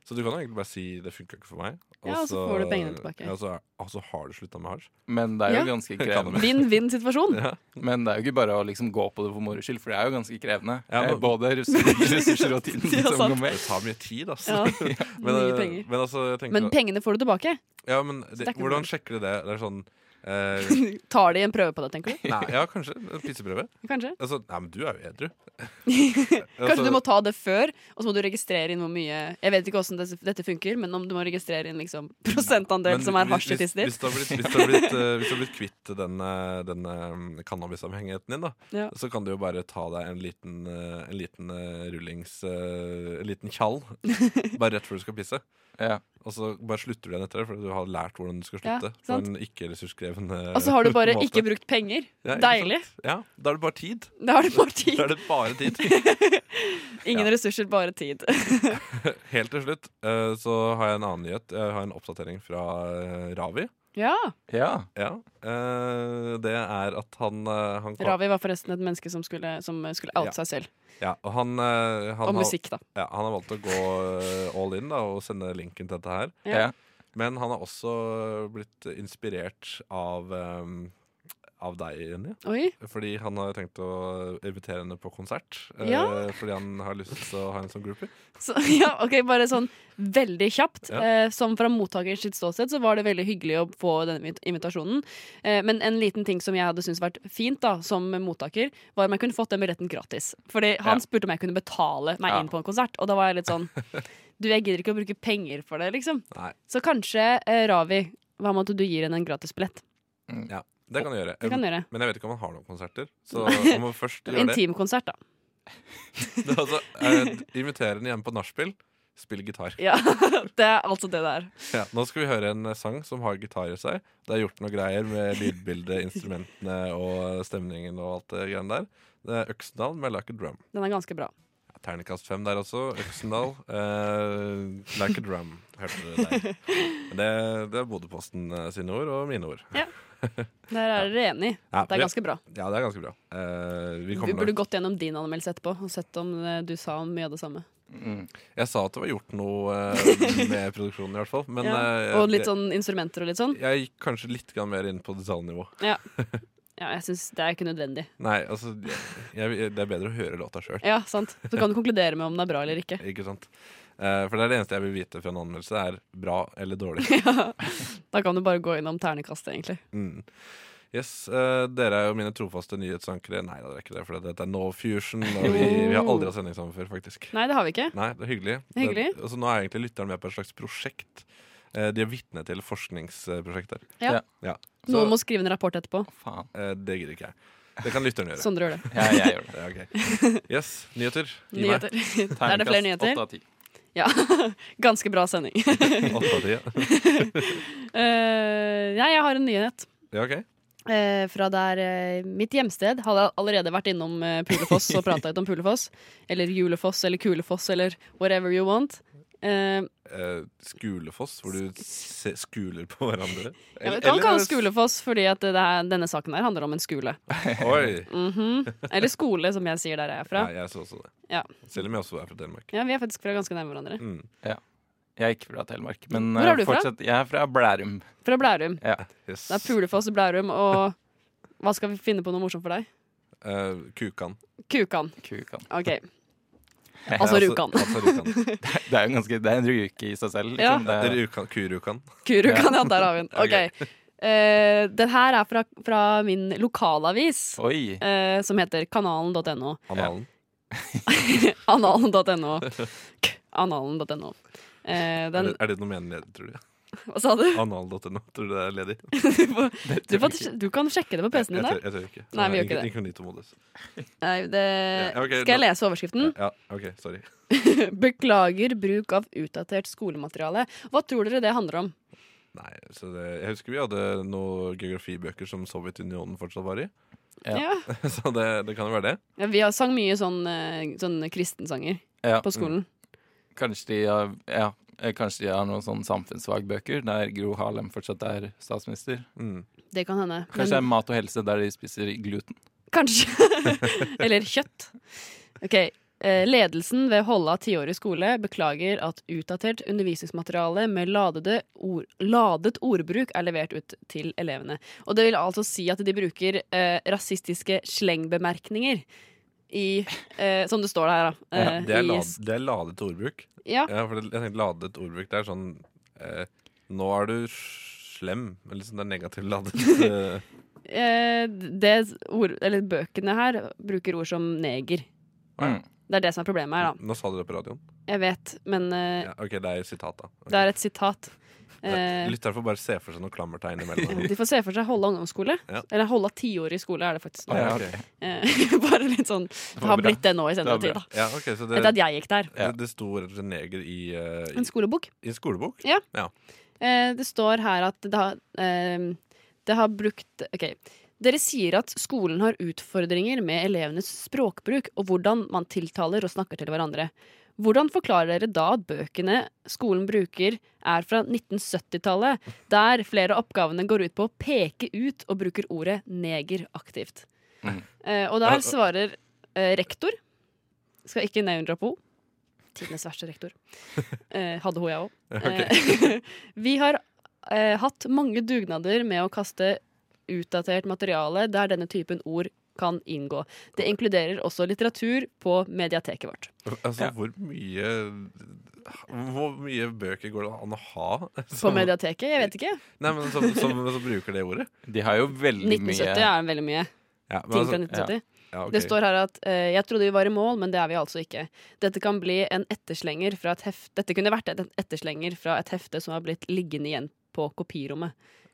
Så du kan jo egentlig bare si 'det funka ikke for meg',
Ja, og så får du pengene tilbake.
Ja, så, og så har du slutta med hasj.
Men det er jo
Ja.
ganske krevende.
Vinn-vinn-situasjon.
Ja.
Men det er jo ikke bare å liksom gå på det for moro skyld, for det er jo ganske krevende.
Ja,
Eh,
men-
Både ressurser ressurser og tiden
Ja,
som går
sant.
Det
med.
tar mye tid, altså.
Ja,
men,
mye
eh,
penger.
men altså, jeg tenker
Men
at-
pengene får du tilbake.
ja, men
det er
det,
ikke noe
Hvordan
problem.
sjekker du det? Det er sånn eh,
Tar de en prøve på det, tenker du?
Nei, ja, kanskje. en Pisseprøve.
Kanskje
Altså, nei, men du er jo edru. Altså,
Kanskje du må ta det før, og så må du registrere inn hvor mye Jeg vet ikke hvordan dette, dette funker, men om du må registrere inn liksom, prosentandel som er hasj i tissen din.
Hvis, hvis, du har blitt- hvis, du har blitt, eh, hvis du har blitt kvitt den, eh, den eh, cannabisavhengigheten din, da,
Ja.
så kan du jo bare ta deg en liten, eh, en liten eh, rullings eh, En liten tjall bare rett før du skal pisse.
Ja.
Og så bare slutter du igjen etter det, fordi du har lært hvordan du skal
Ja,
slutte. på
sant.
en ikke ressurskrevende
Og så har du bare
måte.
ikke brukt penger.
Ja, ikke
Deilig.
sant? Ja, Da er det bare tid.
Da har du bare tid.
Da er det bare tid.
Ingen ressurser, bare tid.
Helt til slutt eh, så har jeg en annen nyhet. Jeg har en oppdatering fra eh, Ravi.
Ja.
Ja.
Ja, eh, det er at han, eh, han kom-
Ravi var forresten et menneske som skulle, som skulle
Ja.
out seg selv.
Ja, og han, eh, han,
Og
har,
musikk, da.
ja, han har valgt å gå eh, all in da, og sende linken til dette her.
Ja.
ja.
Men han har også blitt inspirert av, eh, av deg, Jenny.
Oi.
Fordi han har tenkt å invitere henne på konsert. eh,
Ja.
Fordi han har lyst til å ha henne som groupie.
Så, ja, ok, Bare sånn veldig kjapt.
Ja.
Eh, som fra mottakers sitt ståsted så var det veldig hyggelig å få denne invit- invitasjonen. Eh, men en liten ting som jeg hadde syntes vært fint da, som mottaker, var om jeg kunne fått den billetten gratis. Fordi han spurte om jeg kunne betale meg
Ja.
inn på en konsert, og da var jeg litt sånn Du, jeg gidder ikke å bruke penger for det, liksom.
Nei.
Så kanskje, eh, Ravi, hva med at du gir henne en gratisbillett?
Ja, det kan han gjøre.
Det kan du gjøre.
Men jeg vet ikke om han har noen konserter. Så han må først gjøre Um, det.
Intimkonsert, da.
det er altså, eh, invitere henne hjemme på nachspiel. Spille gitar.
Ja, Det er altså det det er.
Ja, nå skal vi høre en eh, sang som har gitar i seg. Det er gjort noe greier med lydbildet, instrumentene og stemningen og alt det greiene der. Det er Øksendal med 'Like a Drum'.
Den er ganske bra.
Ja, Terningkast fem der også. Øksendal. eh, 'Like a Drum', hørte dere der. Men Det, det er Bodøposten eh, sine ord og mine ord.
Der er dere enig.
Ja,
Det er ganske bra.
ja, det er ganske bra. Eh, vi
Vi
kommer
burde
nok-
gått gjennom din anmeldelse etterpå og sett om eh, du sa mye av det samme.
Mm.
Jeg sa at det var gjort noe eh, med produksjonen, i hvert fall. Men eh,
ja. Og litt sånn instrumenter og litt sånn.
jeg, jeg gikk kanskje litt grann mer inn på detaljnivå.
Ja, jeg synes Det er ikke nødvendig.
Nei, altså jeg, jeg, Det er bedre å høre låta sjøl.
Ja, sant. Så kan du konkludere med om den er bra eller ikke.
Ikke sant? Eh, for det er det eneste jeg vil vite fra en anmeldelse, er bra eller dårlig.
Da kan du bare gå innom ternekastet, egentlig.
Mm. Yes, eh, Dere er jo mine trofaste nyhetsankere. Nei, det er ikke det, for dette er No Fusion. Og vi, vi har aldri hatt sending sammen før, faktisk.
Nei, det har vi ikke.
Nei, det er hyggelig.
Det er hyggelig.
Det- altså, nå er egentlig lytteren med på et slags prosjekt. Eh, de er vitne til forskningsprosjekter.
Ja.
Ja. Så
Noen må skrive en rapport etterpå.
Faen.
eh, det gidder ikke jeg. Det kan lytteren gjøre.
Sondre gjør det.
Ja, jeg gjør det.
Ja, ok. Yes, nyheter. Gi meg.
Nyheter. Er det flere
Terningkast åtte
nyheter?
av ti.
Ja. Ganske bra sending.
Åtte av ti.
Eh, nei, jeg har en nyhet.
Ja, ok.
Eh, fra der eh, mitt hjemsted hadde jeg allerede vært innom eh, Pulefoss og prata litt om Pulefoss. Eller Julefoss eller Kulefoss eller whatever you want. Eh,
eh, Skulefoss, hvor du se skuler på hverandre.
ja, vi
Eller-
kan
eller-
kalle det Skulefoss fordi at det er, denne saken her handler om en skole.
Oi!
Mhm. Eller skole, som jeg sier der jeg er
Ja,
fra.
jeg så også det.
Ja.
Selv om jeg også er fra Telemark.
Ja, Vi er faktisk fra ganske nærme hverandre.
Mm.
Jeg er ikke fra Telemark, men
Hvor er
eh,
du fra?
fortsatt, jeg er fra Blærum.
Fra Blærum.
Yes.
Det er Pulefoss, Blærum og Hva skal vi finne på noe morsomt for deg?
Eh, kukan.
Kukan.
Kukan.
OK. Altså
Ja,
Rjukan.
Altså Rjukan.
Det er jo ganske, det er en ruke i seg selv.
Ja.
Liksom. Det er,
Rjukan. Kurukan.
Kurukan, ja. Der har vi den. OK.
Ok.
Eh, den her er fra, fra min lokalavis.
oi!
eh, som heter kanalen.no.
Analen.
Analen.no. K- Analen.no. Eh,
Er,
den,
det- er det noe menledig, tror du?
hva sa du?
Anal.no, tror du det er ledig?
Du, får, du, får, du kan sjekke det på PC-en
jeg,
din
tør,
der.
jeg tør ikke.
Nei, vi gjør ikke det.
Inkonitomodus.
Nei, det,
Ja, ok,
skal
nå-
jeg lese overskriften?
Ja, OK, sorry.
Beklager bruk av utdatert skolemateriale. Hva tror dere det handler om?
Nei, så det, Jeg husker vi hadde noen geografibøker som Sovjetunionen fortsatt var i.
Ja.
Ja.
Så det, det kan jo være det.
Ja, vi har sang mye sånn, eh, sånn kristensanger
Ja.
på skolen.
Kanskje de har, ja, eh, kanskje de har noen sånne samfunnsfagbøker der Gro Harlem fortsatt er statsminister.
Mm.
Det kan hende. Men-
Kanskje det er mat og helse der de spiser gluten.
Kanskje. Eller kjøtt. Ok. eh, Ledelsen ved Holla tiårig skole beklager at utdatert undervisningsmateriale med ladede ord, ladet ordbruk er levert ut til elevene. Og det vil altså si at de bruker eh, rasistiske slengbemerkninger i eh, Som det står der, da.
Ja,
eh,
det, er
i
lad,
s-
det er ladet ordbruk.
Ja.
Ja, for det, jeg tenkte ladet ordbruk. Det er sånn eh, Nå er du slem. Eller sånn det er negativt ladet. eh,
eh, det ord, eller bøkene her bruker ord som neger.
Mm.
Det er det som er problemet her, da.
Eh, Nå sa du det på radioen.
Jeg vet, men eh,
Ja, ok, det er sitat, da.
det er et sitat. Eh,
Lytteren får bare se for seg noen klammertegn imellom.
De får se for seg Holla ungdomsskole.
Ja.
Eller Holla tiårig skole, er det faktisk. nå.
Ja,
Ah, ok.
ok.
Eh, Bare litt sånn Det har
bra.
blitt det nå i senere
Det
tid,
var
da.
Ja, ok, så det,
Etter at jeg gikk der.
det, det sto rett og slett neger i, eh,
En skolebok.
i, i en skolebok.
Eh, Det står her at det har, eh, det har brukt OK. Dere sier at skolen har utfordringer med elevenes språkbruk og hvordan man tiltaler og snakker til hverandre. Hvordan forklarer dere da at bøkene skolen bruker, er fra 1970-tallet, der flere av oppgavene går ut på å peke ut og bruker ordet neger aktivt?
Mhm.
Eh, og der svarer eh, rektor Skal ikke navndroppe henne. Tidenes verste rektor. Eh, hadde hun, jeg Eh, òg. Vi har eh, hatt mange dugnader med å kaste utdatert materiale der denne typen ord kan inngå. Det inkluderer også litteratur på mediateket vårt.
Altså,
Ja.
hvor mye Hvor mye bøker går det an å ha?
På
som-
mediateket? Jeg vet ikke.
Nei, men som, som, som bruker det ordet?
De har jo veldig
1970
mye
er veldig mye.
Ja, men
Ting fra
altså-
1970.
ja, ok.
Det står her at eh, 'jeg trodde vi var i mål, men det er vi altså ikke'. Dette kan bli en etterslenger fra et heft Dette kunne vært et etterslenger fra et hefte som har blitt liggende igjen på kopirommet.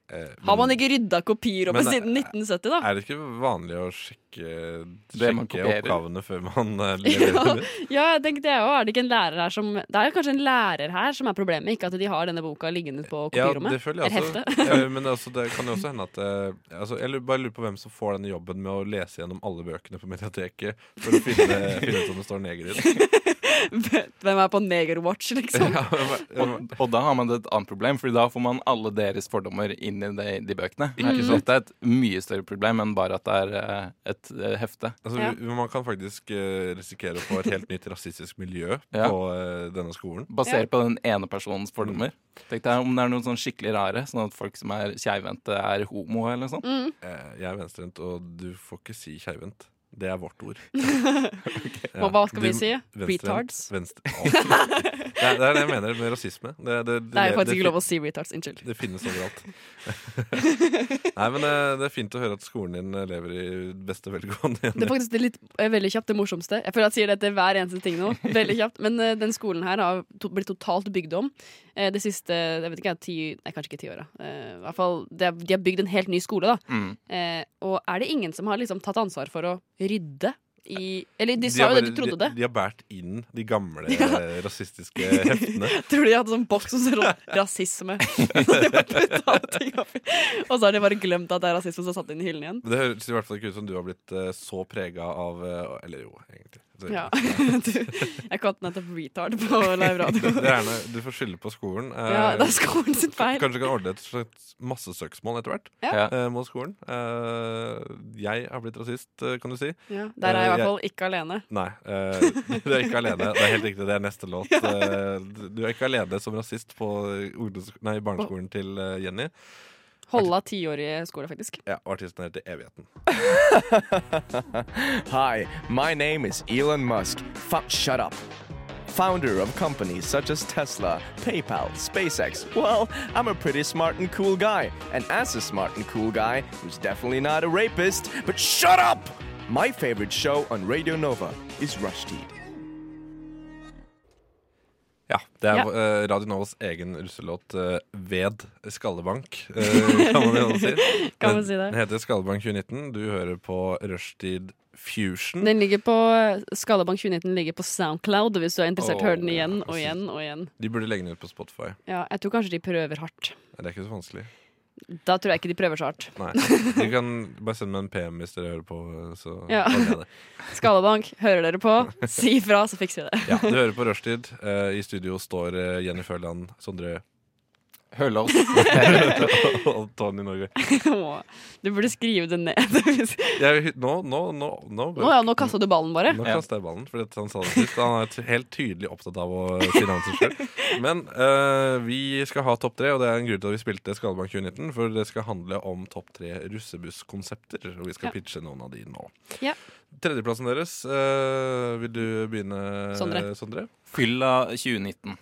Eh,
Har
men-
man ikke rydda kopirommet
Men, eh,
siden 1970, da?
Er det ikke vanlig å sjekke,
Det man
sjekke
kopierer.
oppgavene før man eh, leverer det?
Ja, jeg tenkte jeg også. Er det ikke en lærer her som Det er jo kanskje en lærer her som er problemet, ikke at de har denne boka liggende på
Ja,
kopirommet.
det føler jeg
Eller
også. Eh, Men altså, det kan jo også hende at eh, altså, Jeg lurer- bare lurer på hvem som får denne jobben med å lese gjennom alle bøkene på mediateket for å finne, finne ut om det står neger i den.
Hvem er på negerwatch, liksom?
Ja, men-
og, og da har man et annet problem, Fordi da får man alle deres fordommer inn i de, de bøkene.
Mm.
Så Dette er et mye større problem enn bare at det er eh, et eh, hefte.
altså,
Ja.
vi- Man kan faktisk eh, risikere å få et helt nytt rasistisk miljø
Ja.
på eh, denne skolen.
Basert på den ene personens fordommer.
Mm.
Tenk deg om det er noen sånn skikkelig rare, sånn at folk som er keivhendte, er homo eller sånn. noe sånt.
Mm.
Eh, Jeg er venstrehendt, og du får ikke si keivhendt. Det er vårt ord.
Hva- hva skal vi si?
venstrehendt-
Retards?
venstre- Å. det, er, det er det jeg mener med rasisme. Det, det, det,
Det er
det
faktisk
fin-
ikke lov å si retards. Unnskyld.
Det finnes overalt. Nei, men eh, Det er fint å høre at skolen din eh, lever i beste velgående.
Det er faktisk det litt, eh, veldig kjapt det morsomste. Jeg føler at jeg sier det til hver eneste ting nå. Veldig kjapt. Men eh, den skolen her har to, blitt totalt bygd om eh, det siste jeg vet ikke, ti, nei, kanskje ikke ti åra. Eh, i hvert fall, det er- de har bygd en helt ny skole, da.
Mm.
Eh, og er det ingen som har liksom tatt ansvar for å rydde i Eller de,
har
sa jo det,
bare-
de trodde det.
De, de har båret inn de gamle eh, rasistiske heftene.
Tror du de hadde sånn boks som står sånn rasisme? Og de bare puttet alle ting oppi. Og så har de bare glemt at det er rasisme som er satt inn i hyllen igjen.
Men Det høres i hvert fall ikke ut som du har blitt eh, så prega av eh, Eller jo, egentlig. Så-
Ja. Du, jeg kalte nettopp retard på live radio.
Det er gjerne, du får skylde på skolen. eh,
Ja, det er skolen sitt feil.
Kanskje du kan ordne et slags massesøksmål etter hvert
Ja.
eh, mot skolen. Eh, jeg har blitt rasist, eh, kan du si.
Ja, der er jeg i hvert fall ikke alene.
Nei. eh, du er ikke alene. Det er helt riktig, det er neste låt. Eh, du er ikke alene som rasist på ungdoms- nei, barneskolen til eh, Jenny.
Holla tiårige skole, faktisk.
Ja, og artisten heter Evigheten.
Hi, my name is Elon Musk. Fu shut up. Founder of companies such as Tesla, PayPal, SpaceX. Well, I'm a pretty smart and cool guy. And as a smart and cool guy, who's definitely not a rapist, but shut up! My favorite show on Radio Nova is Rushdie.
Ja, Det er
Ja.
eh, Radio Novas egen russelåt eh, 'Ved Skallebank', eh, kan man vel si.
Kan man
Den-
si det.
Den heter Skallebank 2019. Du hører på Rushtid Fusion.
Mm. Den ligger på Skallebank 2019 ligger på Soundcloud, hvis du er interessert. Hør den igjen og igjen og igjen.
De burde legge den ut på Spotify.
Ja, jeg tror kanskje de prøver hardt.
Det er ikke så vanskelig.
Da tror jeg ikke de prøver så hardt.
Nei. Du kan bare sende meg en PM hvis dere hører på. Så
Ja.
ordner jeg det.
Skalabank, hører dere på? Si ifra, så fikser vi det.
Ja, du hører på Rushtid. Eh, I studio står eh, Jenny Føland, Sondre
Hølås.
og Tony Norge.
Åh, Du burde skrive det ned.
Jeg, nå, nå, nå, nå,
Nå, ja, nå kasta du ballen bare.
Nå kaster jeg ballen, fordi at han sa det sist. Han er t- helt tydelig opptatt av å si navnet sitt sjøl. Men eh, vi skal ha topp tre, og det er en grunn til at vi spilte Skallebank 2019. For det skal handle om topp tre russebusskonsepter, og vi skal
Ja.
pitche noen av de nå.
Ja.
Tredjeplassen deres, eh, vil du begynne,
Sondre.
Sondre?
Fylla 2019.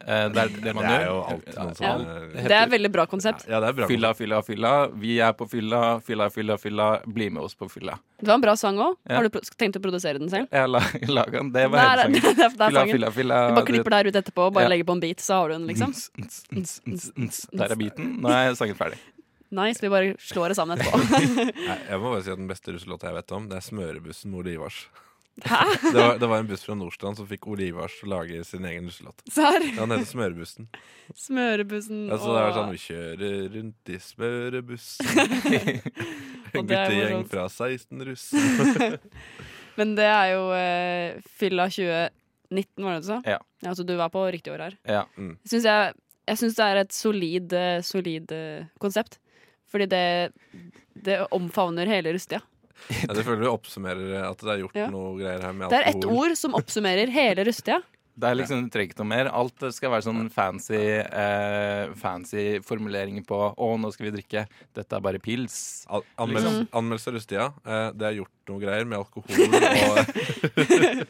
Eh, det er det man
det
gjør.
er jo alltid noen
Ja.
sånne
Det er et veldig bra konsept.
Ja, det er bra.
Fylla, fylla, fylla. Vi er på fylla, fylla, fylla, fylla. Bli med oss på fylla.
Det var en bra sang òg.
Ja.
Har du pro- tenkt å produsere den selv?
Jeg la- laga den. Det var
Der, er-
hele
det
sangen.
er det er
Fylla,
sangen.
fylla, fylla.
Du bare klipper der ut etterpå og bare
Ja. Mhm.
legger på en beat, så har du den, liksom.
Ns, ns, ns, ns, ns. Der er beaten. Nå er sangen ferdig.
Nice. Vi bare slår det sammen etterpå.
Nei, jeg må bare si at Den beste russelåta jeg vet om, det er smørebussen med Ole Ivars. Det var, det var en buss fra Nordstrand som fikk Ole Ivars til å lage sin egen russelåt.
Serr.
Ja, Den heter Smørebussen.
Smørebussen
Ja, så det er
og-
sånn Vi kjører rundt i smørebussen.
Og
En
det er
guttegjeng
morsomt.
fra 16 russ.
Men det er jo eh, fylla 2019, var det du sa?
Ja.
Så du var på riktig år her.
Ja.
Synes jeg jeg syns det er et solid, eh, solid eh, konsept. Fordi det, det omfavner hele Rustia.
Ja, det føler vi oppsummerer at det er gjort
Ja.
noe greier her med
Det er ett
alkohol.
ord som oppsummerer hele Rustia.
Det er liksom, Du trenger ikke noe mer. Alt skal være sånn fancy, eh, fancy formuleringer på 'Å, nå skal vi drikke'. Dette er bare pils.
Al
Liksom.
anmeldelse, anmeldelse av rusttida. Eh, det er gjort noe greier med alkohol og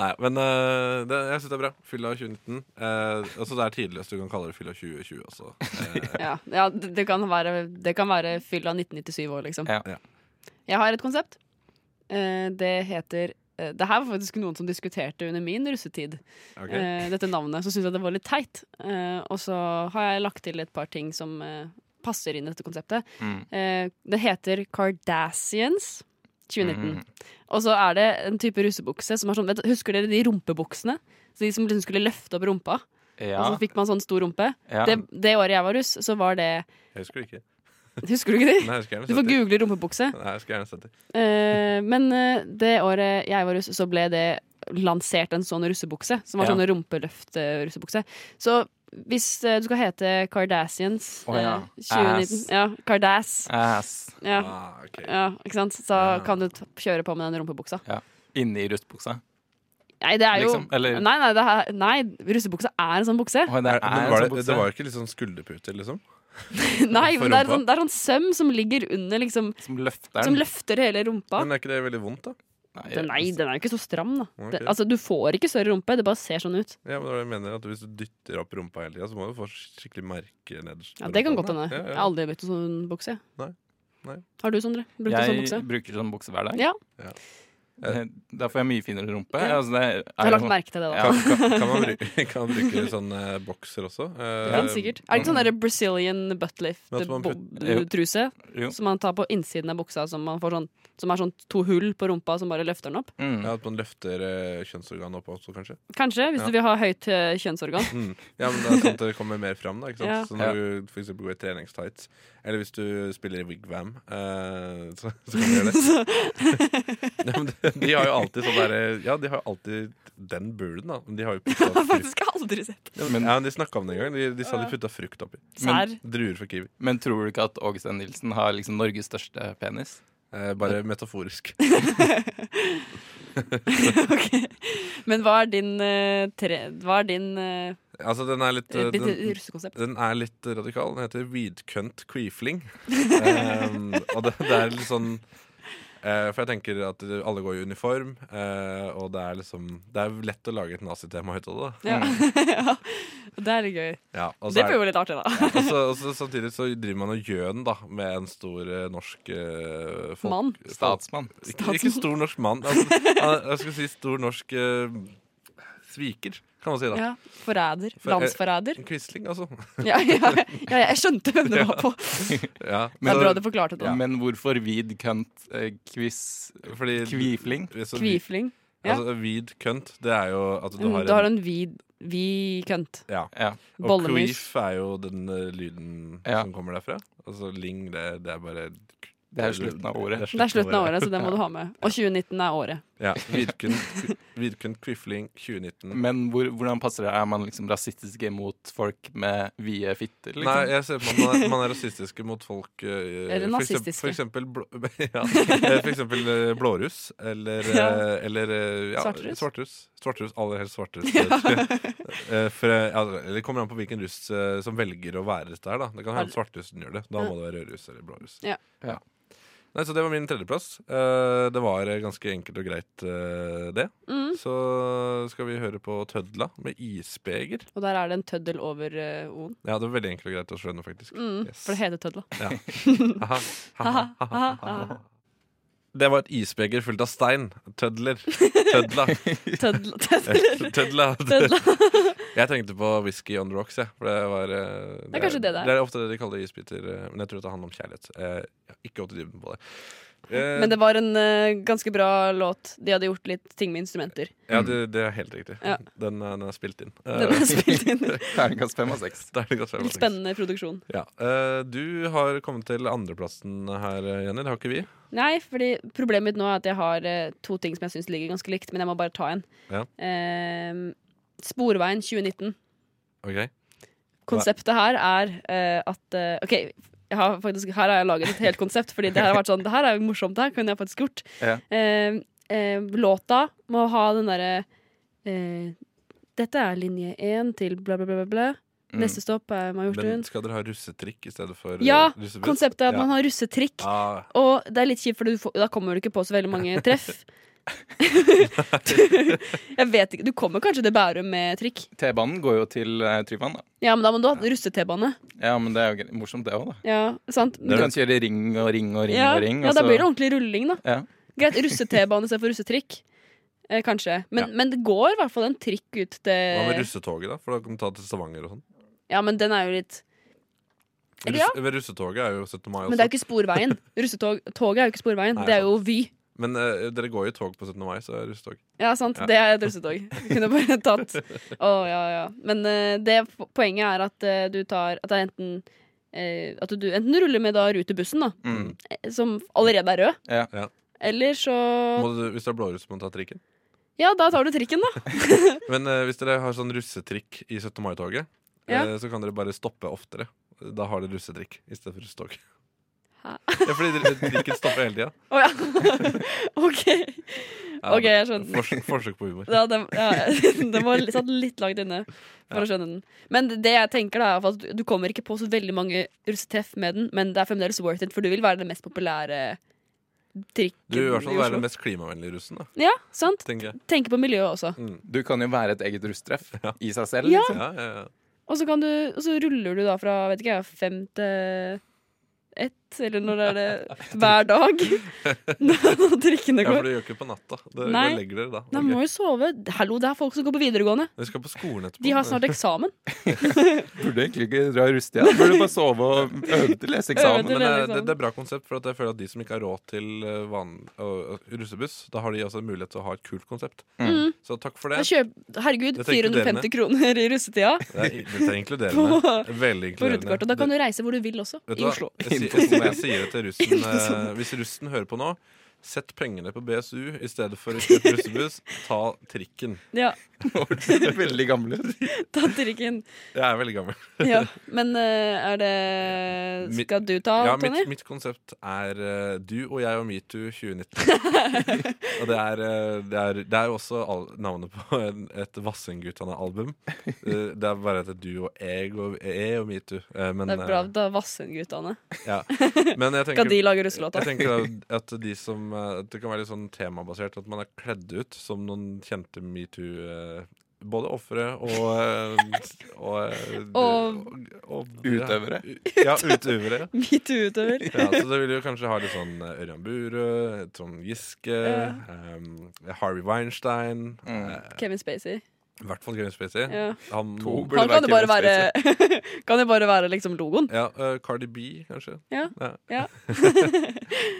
Nei, men eh, det, jeg syns det er bra. Fylla av 2019. Eh, altså det er tidligst du kan kalle det fylla av 2020 også. Eh,
Ja, ja det, det, kan være, det kan være fylla 1997 år, liksom.
Ja.
Ja.
Jeg har et konsept. Eh, det heter eh, Det her var faktisk noen som diskuterte under min russetid.
ok.
eh, dette navnet, så syns jeg det var litt teit. Eh, og så har jeg lagt til et par ting som eh, passer inn i dette konseptet.
Mm.
Eh, det heter Cardassians 2019.
Mm.
Og så er det en type russebukse som er sånn vet, du- Husker dere de rumpebuksene? Så de som liksom skulle løfte opp rumpa, og
Ja.
så fikk man sånn stor rumpe.
ja.
Det, det året jeg var russ, så var det
Jeg husker det ikke.
Husker du ikke det?
Nei, jeg skal gjerne
Du får
sette det.
google rumpebukse.
Nei, jeg skal gjerne sette det.
Eh, men eh, det året jeg var russ, så ble det lansert en sånn russebukse. Som var
Ja.
sånn rumpeløft-russebukse. Så hvis eh, du skal hete Kardashians
Å ja.
eh, 2019
Ass.
Ja, Kardass.
Eh, Ass.
Ja,
Ah, ok.
ja, ikke sant? Så
Ja.
kan du t kjøre på med den rumpebuksa.
Inni rustbuksa.
Nei, det er jo
Liksom, eller-
Nei, nei, det her, nei, russebuksa er en sånn bukse.
Å, det
Er,
er
men
en
var
sånn
det, det
bukse
var jo ikke litt sånn skulderputer, liksom?
nei,
For
men det er,
rumpa.
sånn, det er sånn søm som ligger under, liksom.
som løfter
Som
den.
løfter hele rumpa.
Men er ikke det veldig vondt, da?
Den, nei,
altså-
den er jo ikke så stram, da.
Ok.
Det, altså, du får ikke større rumpe, det bare ser sånn ut.
Ja, men det var det jeg mener at Hvis du dytter opp rumpa hele tida, så må du få skikkelig merke nederst. på
Ja, Det kan
rumpa.
godt hende.
Ja,
Jeg har
ja.
aldri brukt en sånn bukse. jeg.
Nei. Nei.
Har du, Sondre? Brukt en sånn bukse?
Jeg bruker sånn bukse hver dag.
Ja,
Eh, Da får jeg mye finere rumpe.
Ja.
Altså, det er,
jeg har lagt
sånn-
merke til det. da
Ja.
Kan, kan, kan, man bruke, kan man bruke sånn eh, bokser også? Eh,
Helt sikkert. Er det ikke sånn der Brazilian
Men at man
Jo.
buttlift-truse
Jo.
som man tar på innsiden av buksa, som, man får sånn, som er sånn to hull på rumpa som bare løfter den opp?
Mm.
Ja, At man løfter eh, kjønnsorganet opp også, kanskje?
Kanskje, hvis
Ja.
du vil ha høyt eh, kjønnsorgan.
Mm. Ja, men det er sånn at det kommer mer fram, da. Ikke sant?
Ja.
Så når du for eksempel går i treningstights, eller hvis du spiller i wigwam, eh, så, så kan du gjøre det. ja, men de, de har jo alltid sånn derre Ja, de har jo alltid den bulen, da. Men de har jo putta
Jeg har
frukt
faktisk aldri sett
ja, men, ja, men De snakka om det en gang. De, de sa de putta frukt oppi.
sær.
Druer fra kiwi.
Men tror du ikke at Åge Stein Nilsen har liksom Norges største penis?
Eh, bare metaforisk.
Ok. Men hva er din, eh, tre, hva er din eh,
Altså, den er litt eh,
ditt
den,
russekonsept?
den er litt radikal. Den heter Weedcunt Queefling. Ehm, og det, det er litt sånn eh, For jeg tenker at alle går i uniform, eh, og det er liksom Det er lett å lage et nazitema ut av det. da.
Ja. ja. Det er litt gøy.
Ja, Mm. og så
Det
er-
blir jo litt artig, da.
og så, og så, samtidig så driver man og gjøn da med en stor eh, norsk eh, folk,
Mann.
folk-
Statsmann.
Ikke, ikke stor norsk mann. Altså, han- jeg skulle si stor norsk eh, sviker, kan man si da.
Ja. Forræder.
For- eh,
Landsforræder.
En quisling, altså.
Ja, ja, ja, jeg skjønte hvem det var på.
Ja,
Det er
så-
bra du forklarte det.
Men hvorfor vid kønt eh, quiz
fordi,
kvifling?
så-
Kvifling. Ja.
Altså, Vid kønt, det er jo at du
Mm,
har,
Du har en vid Vi kønt.
Ja.
Ja.
Og
Bollemus.
queef er jo den eh, lyden
Ja.
som kommer derfra. Altså ling, det, det er bare
Det er jo slutten av året.
Det er slutten av altså. året, så det må du ha med. Og 2019 er året.
Ja. Virkund, virkund Quisling 2019.
Men hvor, hvordan passer det? Er man liksom rasistisk imot folk med vide fitter? Liksom?
Nei, jeg ser på at man, er- man er rasistiske mot folk eh,
Eller
for eksempel-
nazistiske.
For eksempel, blå, ja, eh, for eksempel eh, blåruss eller, eh,
Ja.
eller eh, ja,
Svarteruss.
svarteruss. Svarteruss, Aller helst svarteruss. Eh, for, eh, ja, det kommer an på hvilken russ eh, som velger å være dette her. Da. Det kan hende svartrussen gjør det. Da må det være rødruss eller blåruss.
Ja.
Ja.
Nei, så det var min tredjeplass. Eh, det var eh, ganske enkelt og greit, eh, det.
Mm.
Så skal vi høre på Tødla med isbeger.
Og der er det en tøddel over eh, O-en.
Ja, det var veldig enkelt og greit å skjønne, faktisk.
Mm,
Yes.
For det heter tødla.
Aha. Aha. Aha. Det var et isbeger fullt av stein. Tødler. Tødla.
Tødla, tødla.
Tødla.
Tødla.
Jeg tenkte på whisky on the rocks, jeg. For det var eh,
Det er kanskje det det er.
Det er ofte det de kaller isbiter. eh, Men jeg tror det handler om kjærlighet. Eh, Jeg har ikke gått i dybden på det. Eh,
Men det var en eh, ganske bra låt. De hadde gjort litt ting med instrumenter.
Ja, det, det er helt riktig.
Ja.
Den, er- den er spilt inn. Eh,
Den er spilt inn.
Terningkast fem av seks.
da er det godt å være
Litt
med.
spennende produksjon.
Ja. eh, du har kommet til andreplassen her, eh, Jenny. Det har ikke vi.
Nei, fordi problemet mitt nå er at jeg har eh, to ting som jeg syns ligger ganske likt, men jeg må bare ta en.
Ja.
Ehm, Sporveien 2019.
Ok
Konseptet her er eh, at eh, OK, jeg har faktisk, her har jeg laget et helt konsept, fordi det her har vært sånn Det her er jo morsomt, det her kunne jeg faktisk gjort.
Ja.
Ehm, ehm, låta må ha den derre eh, Dette er linje én til bla, bla, bla, bla, bla.
Mm.
Neste stopp er
Men
Majorstuen.
skal dere ha russetrikk i stedet for eh,
Ja!
russebuss?
Konseptet er at
Ja.
man har russetrikk.
Ah,
Og det er litt kjipt, for du får, da kommer du ikke på så veldig mange treff. jeg vet ikke, Du kommer kanskje til Bærum med trikk?
T-banen går jo til eh, Tryvann, da.
Ja, men da må du ha russe-T-bane.
Ja, men det er jo gre- morsomt, det òg, da.
Ja, sant?
Du kan kjøre ring og ring og ring
ja,
og ring.
ja,
og
da
så-
blir
altså.
det ordentlig rulling, da.
Ja.
Greit, russe-T-bane istedenfor russetrikk. Eh, kanskje. Men, men det går i hvert fall en trikk ut
Hva med
til
russetoget, da? For da kan du ta til Stavanger og sånn.
Ja, men den er jo litt
Russ,
Eller ja.
ved Russetoget er jo 17. mai også.
Men det er jo ikke sporveien. Russetoget er jo ikke sporveien.
altså. Nei,
Det er jo Vy.
Men, eh, dere går jo i tog på 17. mai, så er det russetog.
Ja, sant.
Ja.
Det er et russetog. Vi Kunne bare tatt Å, ja, ja. Men eh, det, poenget er at eh, du tar At det er enten eh, At du enten ruller med da rutebussen, da,
Mm.
eh, som allerede er rød,
Ja.
Ja.
eller så
Må du, hvis du er blåruss, må du ta trikken.
Ja, da tar du trikken, da.
Men eh, hvis dere har sånn russetrikk i 17. mai-toget,
Ja.
eh, så kan dere bare stoppe oftere. Da har dere russetrikk i stedet for russetog.
Hæ?
Ja, fordi dere- trikken stopper hele tida.
Å ja. OK.
Ja,
OK, jeg skjønner.
Forsøk, forsøk på humor.
Ja, den, ja, den var litt- satt litt langt inne for å skjønne den. Men det jeg tenker da er i hvert fall at du- du kommer ikke på så veldig mange russetreff med den, men det er fremdeles worth it, for du vil være den mest populære trikken
Du vil i hvert fall være
Oslo.
den mest klimavennlige russen, da,
Ja, sant?
tenker jeg.
Tenke på miljøet også.
Du kan jo være et eget russtreff
Ja.
i seg selv.
Ja.
Liksom.
Ja, ja, ja.
Og så, kan du, og så ruller du da fra vet ikke, jeg, fem til ett, eller når er det hver dag når trikkene
ja, for
går.
du gjør ikke på natta. Dere
Nei.
bare legger dere da.
De
Ok.
må jo sove. Hallo, det er folk som går på videregående.
Dere skal på skolen etterpå.
De har snart eksamen.
Burde egentlig ikke dra rustig. da. Burde bare sove og øve til
Øve
leseeksamen.
til-
Men eh,
Eller
det,
sånn.
det er bra konsept, for at jeg føler at de som ikke har råd til eh, van, å- å- russebuss, da har de også en mulighet til å ha et kult konsept.
Mm.
Så takk for
Da
det.
kjøp- herregud,
Dette er
450 kroner i russetida
Det er, dette er inkluderende.
på,
Veldig
på rutekort. Og da
inkluderende.
kan du reise hvor du vil også,
Vet du
i
hva?
Oslo.
Jeg, sier- jeg, sier- jeg sier det til russen eh, Hvis russen hører på nå, sett pengene på BSU i stedet for å kjøpe russebuss. Ta trikken.
Ja,
Veldig gamle.
ta trikken.
Jeg er veldig gammel.
Ja. Men eh, er det
Mitt-
Skal du ta,
Ja, mitt,
Tonje?
mitt konsept er eh, du og jeg og metoo 2019. og det er, eh, det, er, det er jo også all, navnet på en, et Vassendgutane-album. Eh, det er bare at det er du og jeg og, jeg og metoo. Eh, men,
Det er bra
eh,
å ta Vassendgutane.
ja. men jeg
Skal
tenker,
de lage russelåta?
jeg tenker da at, de som, eh, at det kan være litt sånn temabasert. At man er kledd ut som noen kjente metoo. eh, både ofre og eh, Og, eh,
Og-
og-
Utøvere.
Ja, utøvere.
Metoo-utøver.
Ja, så da vil du kanskje ha litt sånn eh, Ørjan Burøe, Trond Giske,
Ja.
ehm, Harvey Weinstein
Mm.
eh,
Kevin Spacey.
I hvert fall Kevin Spacey.
Ja.
Han,
To
må-
burde
Han kan jo bare
være
være Kan jo bare være liksom logoen.
Ja, eh, Cardi B, kanskje.
Ja.
Ja.
Ja.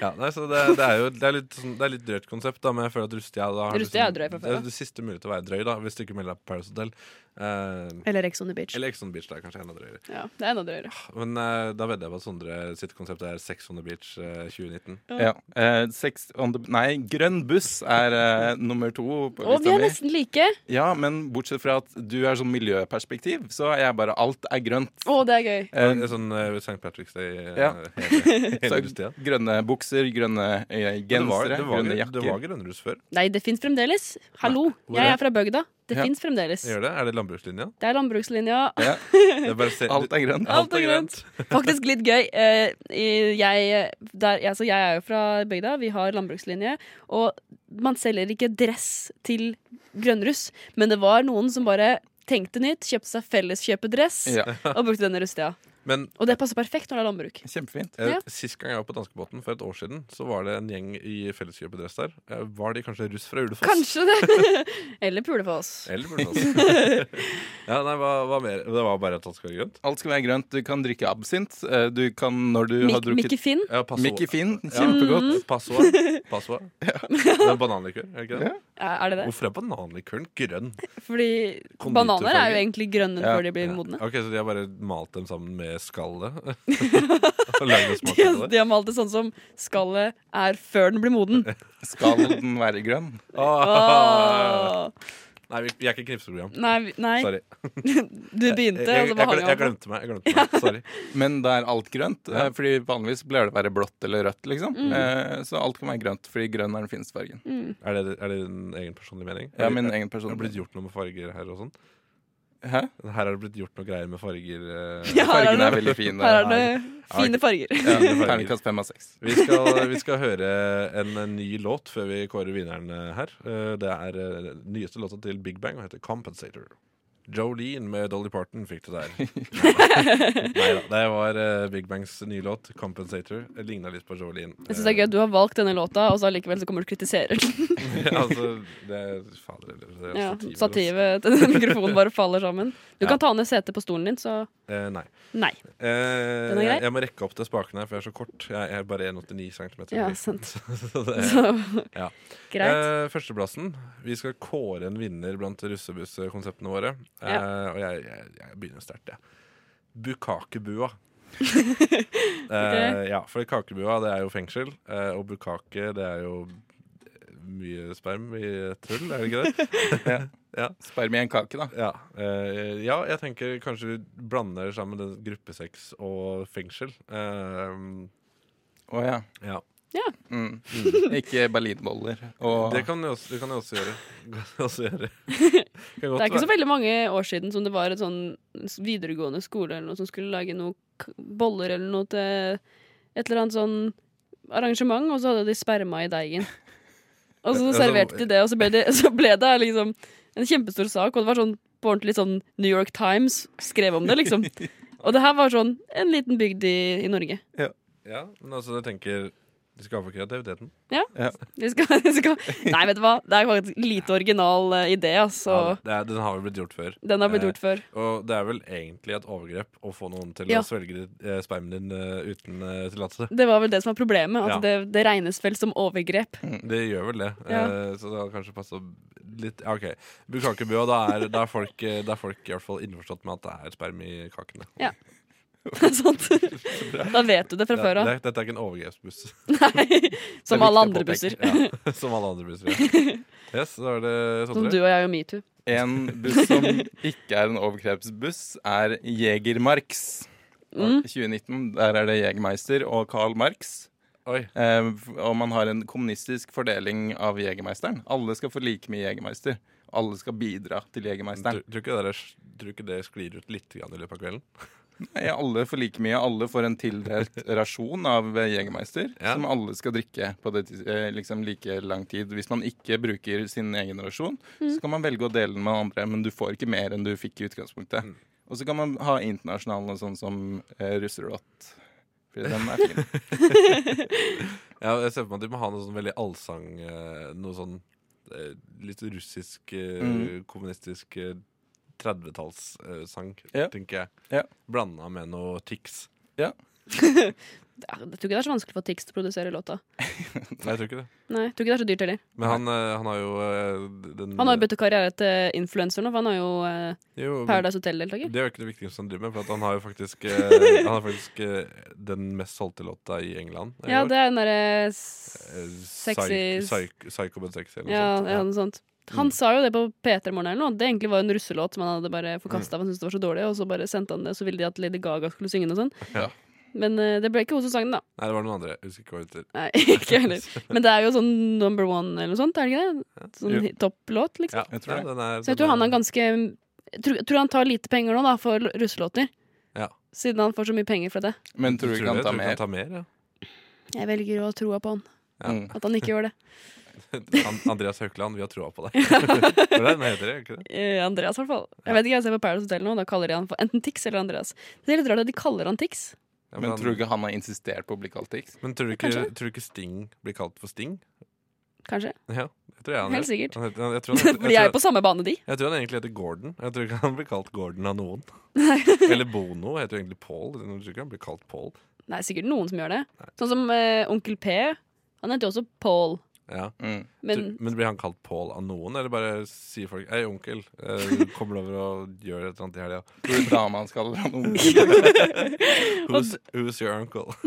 Ja, nei, så det, det er jo det er litt, sånn, det er litt drøyt konsept, da, men jeg føler at Rustia da, har liksom-
Rustia er drøy fra før,
Det
da.
er det siste mulighet til å være drøy, da, hvis du ikke melder deg på Paris Hotel. Eh,
Eller Ex on the Beach.
eller Ex on the Beach, da, kanskje enda drøyere.
Ja, det er enda drøyere.
Men eh, da vedder jeg på at Sondre sitt konsept er Sex on the Beach eh, 2019.
Ja. Eh, sex on the Nei, grønn buss er eh, nummer to. På
Å, vi
lista
er
mi.
nesten like!
Ja, men bortsett fra at du er sånn miljøperspektiv, så er jeg bare alt er grønt.
Å, det er gøy.
Eh,
Eh, sånn eh, St. Patrick's Day eh,
Ja.
hele,
så
hele Rustia.
grønne bukser, grønne eh,
Men det var-
gensere,
det var-
grønne
Det var
jakker.
grønnrus før.
Nei, det fins fremdeles. Hallo,
Hvor
jeg
er-
er fra bygda. Det
Ja.
fins fremdeles.
Gjør det? Er det landbrukslinja?
Det er landbrukslinja.
Ja,
Det er bare se-
alt er grønt.
Alt er grønt. Faktisk litt gøy. Eh, i- Jeg, der, altså jeg er jo fra bygda, vi har landbrukslinje. Og man selger ikke dress til grønnruss, men det var noen som bare tenkte nytt, kjøpte seg felleskjøpedress
Ja,
og brukte denne rustida.
Men
Og det passer perfekt når det er landbruk.
kjempefint.
Eh,
Ja.
Sist gang jeg var på danskebåten, for et år siden, så var det en gjeng i felleskjøpedress der. Eh, Var de kanskje russ fra Ulefoss?
Kanskje det. Eller pulefoss.
Eller Ulefoss. ja, nei, hva, hva mer? Det var bare at alt skal være grønt?
Alt skal være grønt. Du kan drikke absint. eh, Du kan når du har
Mik Mikke
drukket
Finn.
Ja, passo-
Mickey Finn.
Ja.
Kjempegodt.
Passoa. Passoa. Det er bananlikør, er det ikke det?
Er er det det?
Hvorfor er bananlikøren grønn?
Fordi
Konditorfarge.
bananer er jo egentlig grønne
Ja.
før de blir modne.
Ok, Så de har bare malt dem sammen med skallet? og lagd en smak
De,
av
har-
det?
de har malt det sånn som skallet er før den blir moden.
Skal den være grønn?
Åh.
Åh.
Nei, vi, vi er ikke knipseprogram.
Nei, vi- nei.
Sorry.
Du begynte,
Jeg, jeg,
og så
jeg,
bare hang
jeg
jeg opp.
glemte meg. Jeg glemte meg. Sorry.
Men da er alt grønt.
Ja.
eh, Fordi vanligvis pleier det å være blått eller rødt, liksom.
Mm.
Eh, Så alt kan være grønt, fordi grønn er den fineste fargen.
Er det, er det din egen personlige mening? Er
Ja,
det-
min
er-
egen
Har
person.
det blitt gjort noe med farger her og sånn?
Hæ?
Her har det blitt gjort noe greier med farger. eh,
Ja, her er
Fargene er
det,
veldig eh, fine.
her er det fine farger.
Ja,
Fine farger.
Terningkast fem av seks.
Vi, skal, vi skal høre en, eh, ny låt før vi kårer vinneren eh, her. Eh, Det er eh, den nyeste låta til Big Bang og heter 'Compensator'. Jolene med Dolly Parton fikk det der. Nei da. Det var eh, Big Bangs nye låt, 'Compensator'. Ligna litt på Jolene.
Jeg synes det er gøy at du har valgt denne låta, og så allikevel så kommer du og kritiserer den.
altså, det er, fader, det er
Ja,
stativet, altså.
stativet til den mikrofonen bare faller sammen. Du
Ja.
kan ta ned setet på stolen din, så
Eh, nei.
nei.
Eh,
Den er grei.
jeg, jeg må rekke opp til spakene her, for jeg er så kort. Jeg, jeg er bare 1,89 cm.
Ja, sant.
så det er,
Så
Ja.
greit.
Eh, førsteplassen. Vi skal kåre en vinner blant russebusskonseptene våre. Eh, og jeg, jeg, jeg begynner sterkt, jeg. Bukakebua. eh, ja, for kakebua det er jo fengsel, eh, og bukake det er jo mye sperm i et hull, er det ikke det?
Sperm i en kake, da.
Ja, eh, ja jeg tenker kanskje vi blander sammen det gruppesex og fengsel. Eh,
Å ja.
ja.
Mm. Ikke berlinboller.
Ah.
Og
Det kan jeg også, det kan jeg også gjøre. Kan jeg også gjøre. Kan godt
Det er ikke så
være-
veldig mange år siden som det var et sånn videregående skole eller noe som skulle lage noe k- boller eller noe til et eller annet sånn arrangement, og så hadde de sperma i deigen. Og så
Ja,
serverte
altså-
de det, og så ble det, så ble det liksom en kjempestor sak, og det var sånn på ordentlig sånn New York Times skrev om det, liksom. Og det her var sånn en liten bygd i, i Norge.
Ja, men altså, jeg tenker de skal ha for kreativiteten.
Vi skal, vi skal, nei, vet du hva, det er faktisk lite original eh, idé, altså.
Ja, det er, den har jo blitt gjort før.
Den har blitt
Eh,
gjort før.
Og det er vel egentlig et overgrep å få noen til
Ja.
å svelge eh, spermen din eh, uten eh, tillatelse.
Det var vel det som var problemet, at
Ja.
det, det regnes vel som overgrep.
Det gjør vel det.
Mm. Ja.
Eh, så det hadde kanskje passa litt ja, OK. Bukakebua, da er, da, er folk, eh, da er folk i hvert fall innforstått med at det er sperm i kakene.
Ja, Sånt. Da vet du det fra
Det-
før av.
det- Dette er ikke en overgrepsbuss.
Nei.
Det er viktig
Som alle
å
andre
påpeke.
busser.
Ja, som alle andre busser. Ja. Yes, da er det
Som du
Sondre.
og jeg og metoo.
en buss som ikke er en overgrepsbuss, er Jegermarks.
Mm.
2019, der er det Jegermeister og Karl Marx.
Oi.
Eh, og man har en kommunistisk fordeling av Jegermeisteren. Alle skal få like mye Jegermeister. Alle skal bidra til
Tror
Jegermeisteren.
tror ikke, det der- tror ikke det sklir ut litt grann i løpet av kvelden?
Nei, Alle får like mye. Alle får en tildelt rasjon av eh, Jegermeister,
Ja.
som alle skal drikke på det, tids- eh, liksom like lang tid. Hvis man ikke bruker sin egen rasjon, så kan man velge å dele den med andre, men du får ikke mer enn du fikk i utgangspunktet.
Mm.
Og så kan man ha internasjonale, sånn som eh, russerott. Fordi den er fin.
Ja, jeg ser for meg at de må ha noe sånn veldig allsang eh, Noe sånn eh, litt russisk, eh,
Mm.
kommunistisk eh, 30-tallssang,
Ja.
tenker jeg.
Ja.
Blanda med noe Tix.
Det er- Jeg tror ikke det er så vanskelig for Tix til å produsere låta.
Nei, jeg tror ikke det.
Nei, jeg tror ikke det er så dyrt heller.
Men han, eh, han har jo eh, den
Han har jo bytta karriere til influenser nå, for han er jo eh,
jo, men
Paradise Hotel-deltaker.
Det er jo ikke det viktigste han driver med, for at han har jo faktisk, eh, han har faktisk eh, den mest solgte låta i England. i
Ja,
år.
det er den derre
Eh,
sexy
Psy- psy- Psycho but sexy eller noe
Ja,
sånt. Mm.
ja, noe sånt. Han sa jo det på P3 Morgen eller noe. at Det egentlig var en russelåt som han hadde bare
Mm.
forkasta. Han syntes det var så dårlig, og så bare sendte han det, og så ville de at Lady Gaga skulle synge den og sånn.
Ja.
Men eh, det ble ikke hun som sang den, da.
Nei, det var noen andre. Jeg husker ikke hva det heter.
Nei, ikke jeg heller. Men det er jo sånn number one eller noe sånt, er det ikke det? Sånn
Jo.
hi- topplåt, liksom.
Ja,
Jeg tror det.
den er,
Så jeg
den
tror han har ganske jeg tror, jeg tror han tar lite penger nå, da, for l- russelåter.
Ja.
Siden han får så mye penger fra det.
Men tror du ikke han
det?
tar
Tror du ikke
mer?
han tar mer? Ja.
Jeg velger å ha troa på han.
tar-
Mm.
At han ikke gjør det.
An- Andreas Haukeland, vi har troa på deg. Hva er det den heter? Ikke det?
Eh, Andreas, i hvert fall. Jeg vet ikke, jeg ser på Paradise Hotel nå, da kaller de han for enten Tix eller Andreas. Det er litt rart at de kaller han Tix.
Ja,
Men
han-
tror du ikke han har insistert på å bli kalt Tix?
men tror du ikke,
Kanskje.
tror du ikke Sting blir kalt for Sting?
Kanskje.
Ja, det tror jeg han
Helt
er.
sikkert.
Han heter, han- jeg, tror han heter,
For de er
jeg,
jo
tror,
på samme bane, de.
jeg tror han egentlig heter Gordon. Jeg tror ikke han blir kalt Gordon av noen. Eller Bono heter jo egentlig Paul. Jeg tror ikke han blir kalt Paul.
Det er sikkert noen som gjør det. Sånn som eh, Onkel P. Han heter jo også Paul.
Ja.
Mm.
Men
Tror- men blir han kalt Paul av noen, eller bare sier folk 'Hei, onkel, eh, kommer du over og gjør et eller annet i helga?'
Tror du dama hans kaller han onkel?
Who's, who's your uncle?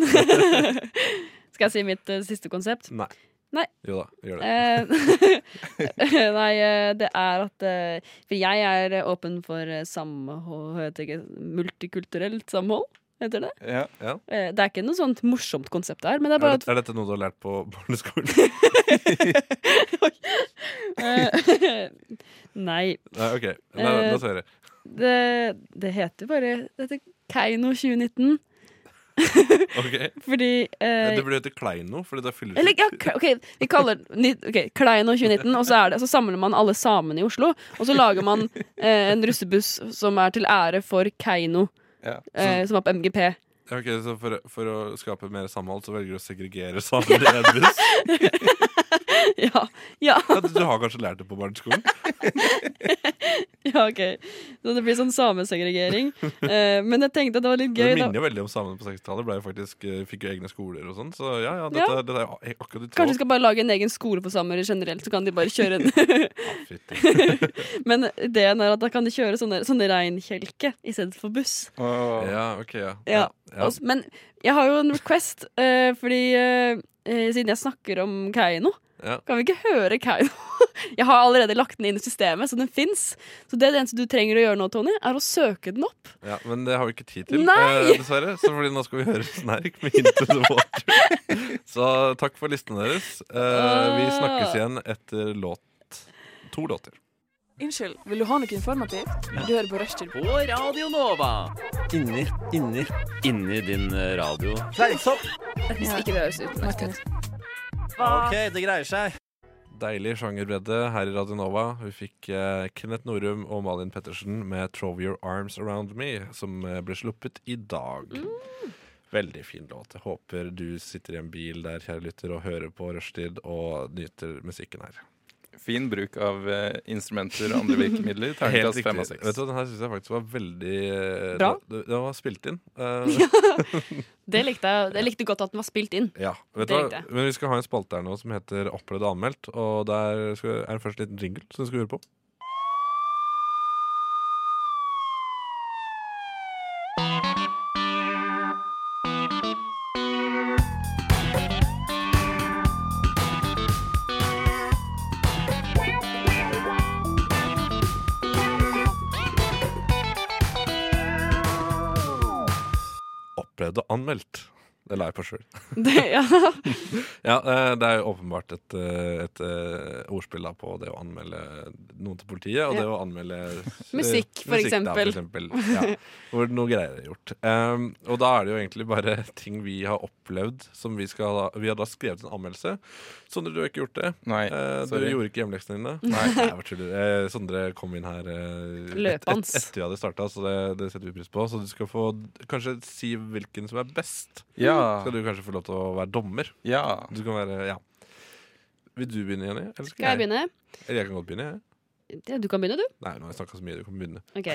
skal jeg si mitt eh, siste konsept?
Nei.
Nei.
Jo da, gjør det.
Eh, Nei, eh, det er at eh, For jeg er eh, åpen for eh, samhold heter det ikke, Multikulturelt samhold, heter det.
Ja.
Eh, Det er ikke noe sånt morsomt konsept det er, men det er
Er,
bare
det, er dette noe du har lært på barneskolen?
at eh, Nei.
Nei, OK. Nei, nei, La oss høre.
Det, det heter bare Det heter Keiino 2019
Ok.
fordi eh,
Det burde hete Kleino, fordi det er fyllesyk.
Eller, ja, Kle- ok, vi kaller ny- ok, Klein og 2019, og så, er det, så samler man alle samene i Oslo. Og så lager man eh, en russebuss som er til ære for Keiino,
Ja.
eh, som var på MGP.
Ok, så for, for å skape mer samhold, så velger du å segregere samer i en buss?
Ja, ja,
Ja, du- du har kanskje lært det på barneskolen?
ja, ok. Så det blir sånn samesegregering. Eh, men jeg tenkte at det var litt
Det
gøy,
minner
da.
jo veldig om samene på 60-tallet. ble jo faktisk, eh, Fikk jo egne skoler og sånn. Så ja, ja, dette,
Ja.
dette er jo ak- akkurat i
Kanskje
tråd.
vi skal bare lage en egen skole for samer generelt, så kan de bare kjøre en
Fytti.
Men ideen er at da kan de kjøre sånne, sånne reinkjelke i stedet for buss.
Åh.
Ja, ok, ja.
Ja.
ja.
Altså, Men jeg har jo en request, eh, fordi eh, eh, siden jeg snakker om Keiino,
Ja.
kan vi ikke høre Keiino? jeg har allerede lagt den inn i systemet, så den fins. Så det, det eneste du trenger å gjøre nå, Tony, er å søke den opp.
Ja, men det har vi ikke tid til,
Nei!
eh, dessverre. Så fordi nå skal vi høre Snerk med Into the Water. Så takk for listene deres. Eh, vi
Ah.
snakkes igjen etter låt to låter.
Unnskyld, vil du ha noe informativt? Du hører på Rushtid.
Inni, inni, inni din eh, radio.
Hvis ikke det høres utenlandsk ut.
Ok, det greier seg.
Deilig sjangerbredde her i Radio Nova. Vi fikk eh, Kenneth Norum og Malin Pettersen med 'Throw Your Arms Around Me', som eh, ble sluppet i dag.
Mm.
Veldig fin låt. Jeg håper du sitter i en bil der, kjære lytter, og hører på Rushtid og nyter musikken her.
Fin bruk av eh, instrumenter og andre virkemidler.
Helt
Terningkast
riktig.
fem av
Vet
seks.
du, hva, den her syns jeg faktisk var veldig eh,
Bra.
Det, det var spilt inn. Eh,
Det likte jeg. Jeg likte godt at den var spilt inn.
ja. Vet du
Det
hva?
likte jeg.
Men vi skal ha en spalte her nå som heter Opplevd og anmeldt. Og der skal, er det først en liten jingle som du skal høre på. Opplevd og anmeldt. Det la jeg på sjøl.
Det, ja.
Ja, eh, det er jo åpenbart et, eh, et eh, ordspill da på det å anmelde noen til politiet, og det å anmelde eh,
Musikk, for
da,
eksempel.
eksempel. Ja, hvor noe greier er gjort. Um, og da er det jo egentlig bare ting vi har opplevd, som vi skal ha Vi har da skrevet en anmeldelse. Sondre, du har ikke gjort det.
Nei,
Eh, du
sorry.
gjorde ikke hjemmeleksene dine. Nei, jeg bare tuller. Eh, Sondre kom inn her eh,
Løpans.
etter vi hadde starta, så det, det setter vi pris på. Så du skal få kanskje si hvilken som er best.
Ja.
Skal du kanskje få lov til å være dommer.
ja.
Du kan være, ja Vil du begynne, Jenny? Eller
Skal jeg begynne?
Eller jeg kan godt begynne, jeg.
Ja, Du kan begynne, du.
Nei, nå har jeg snakka så mye. Du kan begynne.
Ok.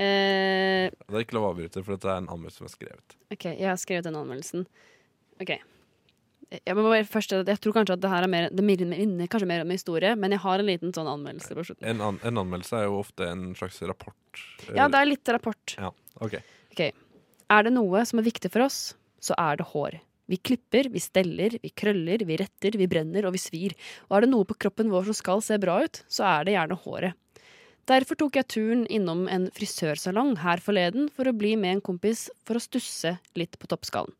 Eh,
Det er ikke lov å avbryte, for dette er en anmeldelse som er skrevet.
Ok, jeg har skrevet den anmeldelsen. Ok. Jeg, må bare først, jeg tror kanskje at det her er mer, det minner kanskje mer om historie, men jeg har en liten sånn anmeldelse på slutten.
En, an en anmeldelse er jo ofte en slags rapport.
Ja, det er litt rapport.
Eh, Ja, ok.
Ok. Er det noe som er viktig for oss, så er det hår. Vi klipper, vi steller, vi krøller, vi retter, vi brenner og vi svir. Og er det noe på kroppen vår som skal se bra ut, så er det gjerne håret. Derfor tok jeg turen innom en frisørsalong her forleden for å bli med en kompis for å stusse litt på toppskallen.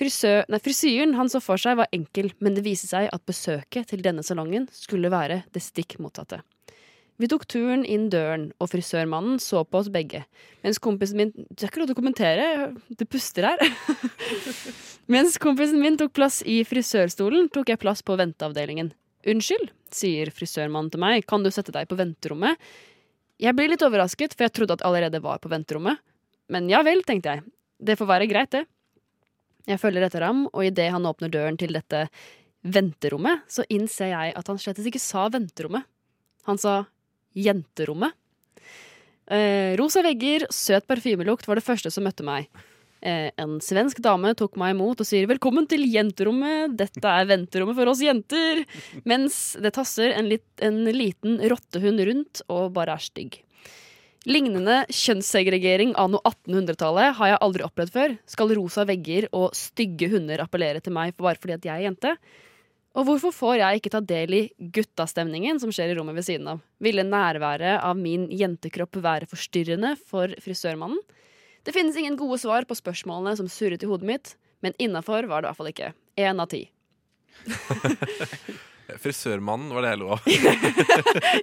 Frisø nei, frisyren han så for seg var enkel, men det viste seg at besøket til denne salongen skulle være det stikk motsatte. Vi tok turen inn døren, og frisørmannen så på oss begge. Mens kompisen min Det er ikke lov til å kommentere, det puster her. Mens kompisen min tok plass i frisørstolen, tok jeg plass på venteavdelingen. Unnskyld, sier frisørmannen til meg, kan du sette deg på venterommet? Jeg blir litt overrasket, for jeg trodde at jeg allerede var på venterommet. Men ja vel, tenkte jeg. Det får være greit, det. Jeg følger etter ham, og idet han åpner døren til dette venterommet, så innser jeg at han slettes ikke sa venterommet. Han sa jenterommet. Eh, rosa vegger, søt parfymelukt var det første som møtte meg. Eh, en svensk dame tok meg imot og sier 'velkommen til jenterommet', dette er venterommet for oss jenter. Mens det tasser en, litt, en liten rottehund rundt og bare er stygg. Lignende kjønnssegregering anno 1800-tallet har jeg aldri opplevd før. Skal rosa vegger og stygge hunder appellere til meg bare fordi at jeg er jente? Og hvorfor får jeg ikke ta del i guttastemningen som skjer i rommet ved siden av? Ville nærværet av min jentekropp være forstyrrende for frisørmannen? Det finnes ingen gode svar på spørsmålene som surret i hodet mitt, men innafor var det i hvert fall ikke. Én av ti.
Eh, Frisørmannen var det jeg lo av.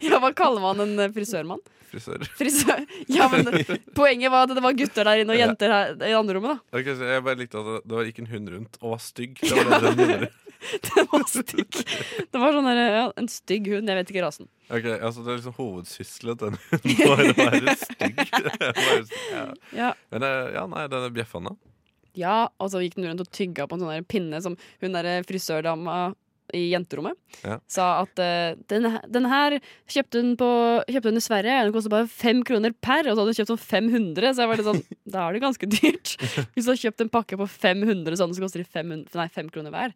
Ja, hva kaller man en eh, frisørmann?
Frisør.
Frisør... Ja, men eh, poenget var at det var gutter der inne og jenter her i andre rommet, da.
Ok, så jeg bare likte at det gikk en hund rundt og var stygg. Det var det den gjorde.
Det var stygg. Det var sånn der, ja, en stygg hund, jeg vet ikke rasen.
Ok, altså Det er liksom hovedsysselen til den hunden. Var å være stygg. Være stygg, ja.
Ja,
Men eh, ja, nei, den er bjeffende.
Ja, og så gikk den rundt og tygga på en sånn der pinne som hun der eh, frisørdama i jenterommet
Ja.
sa at eh, den, he- den her kjøpte hun, på, kjøpte hun i Sverige, den kostet bare fem kroner per, og så hadde hun kjøpt sånn 500, så jeg var litt sånn, da er det ganske dyrt. Hvis du har kjøpt en pakke på 500 sånn, så koster de 500, nei, 5 kroner hver.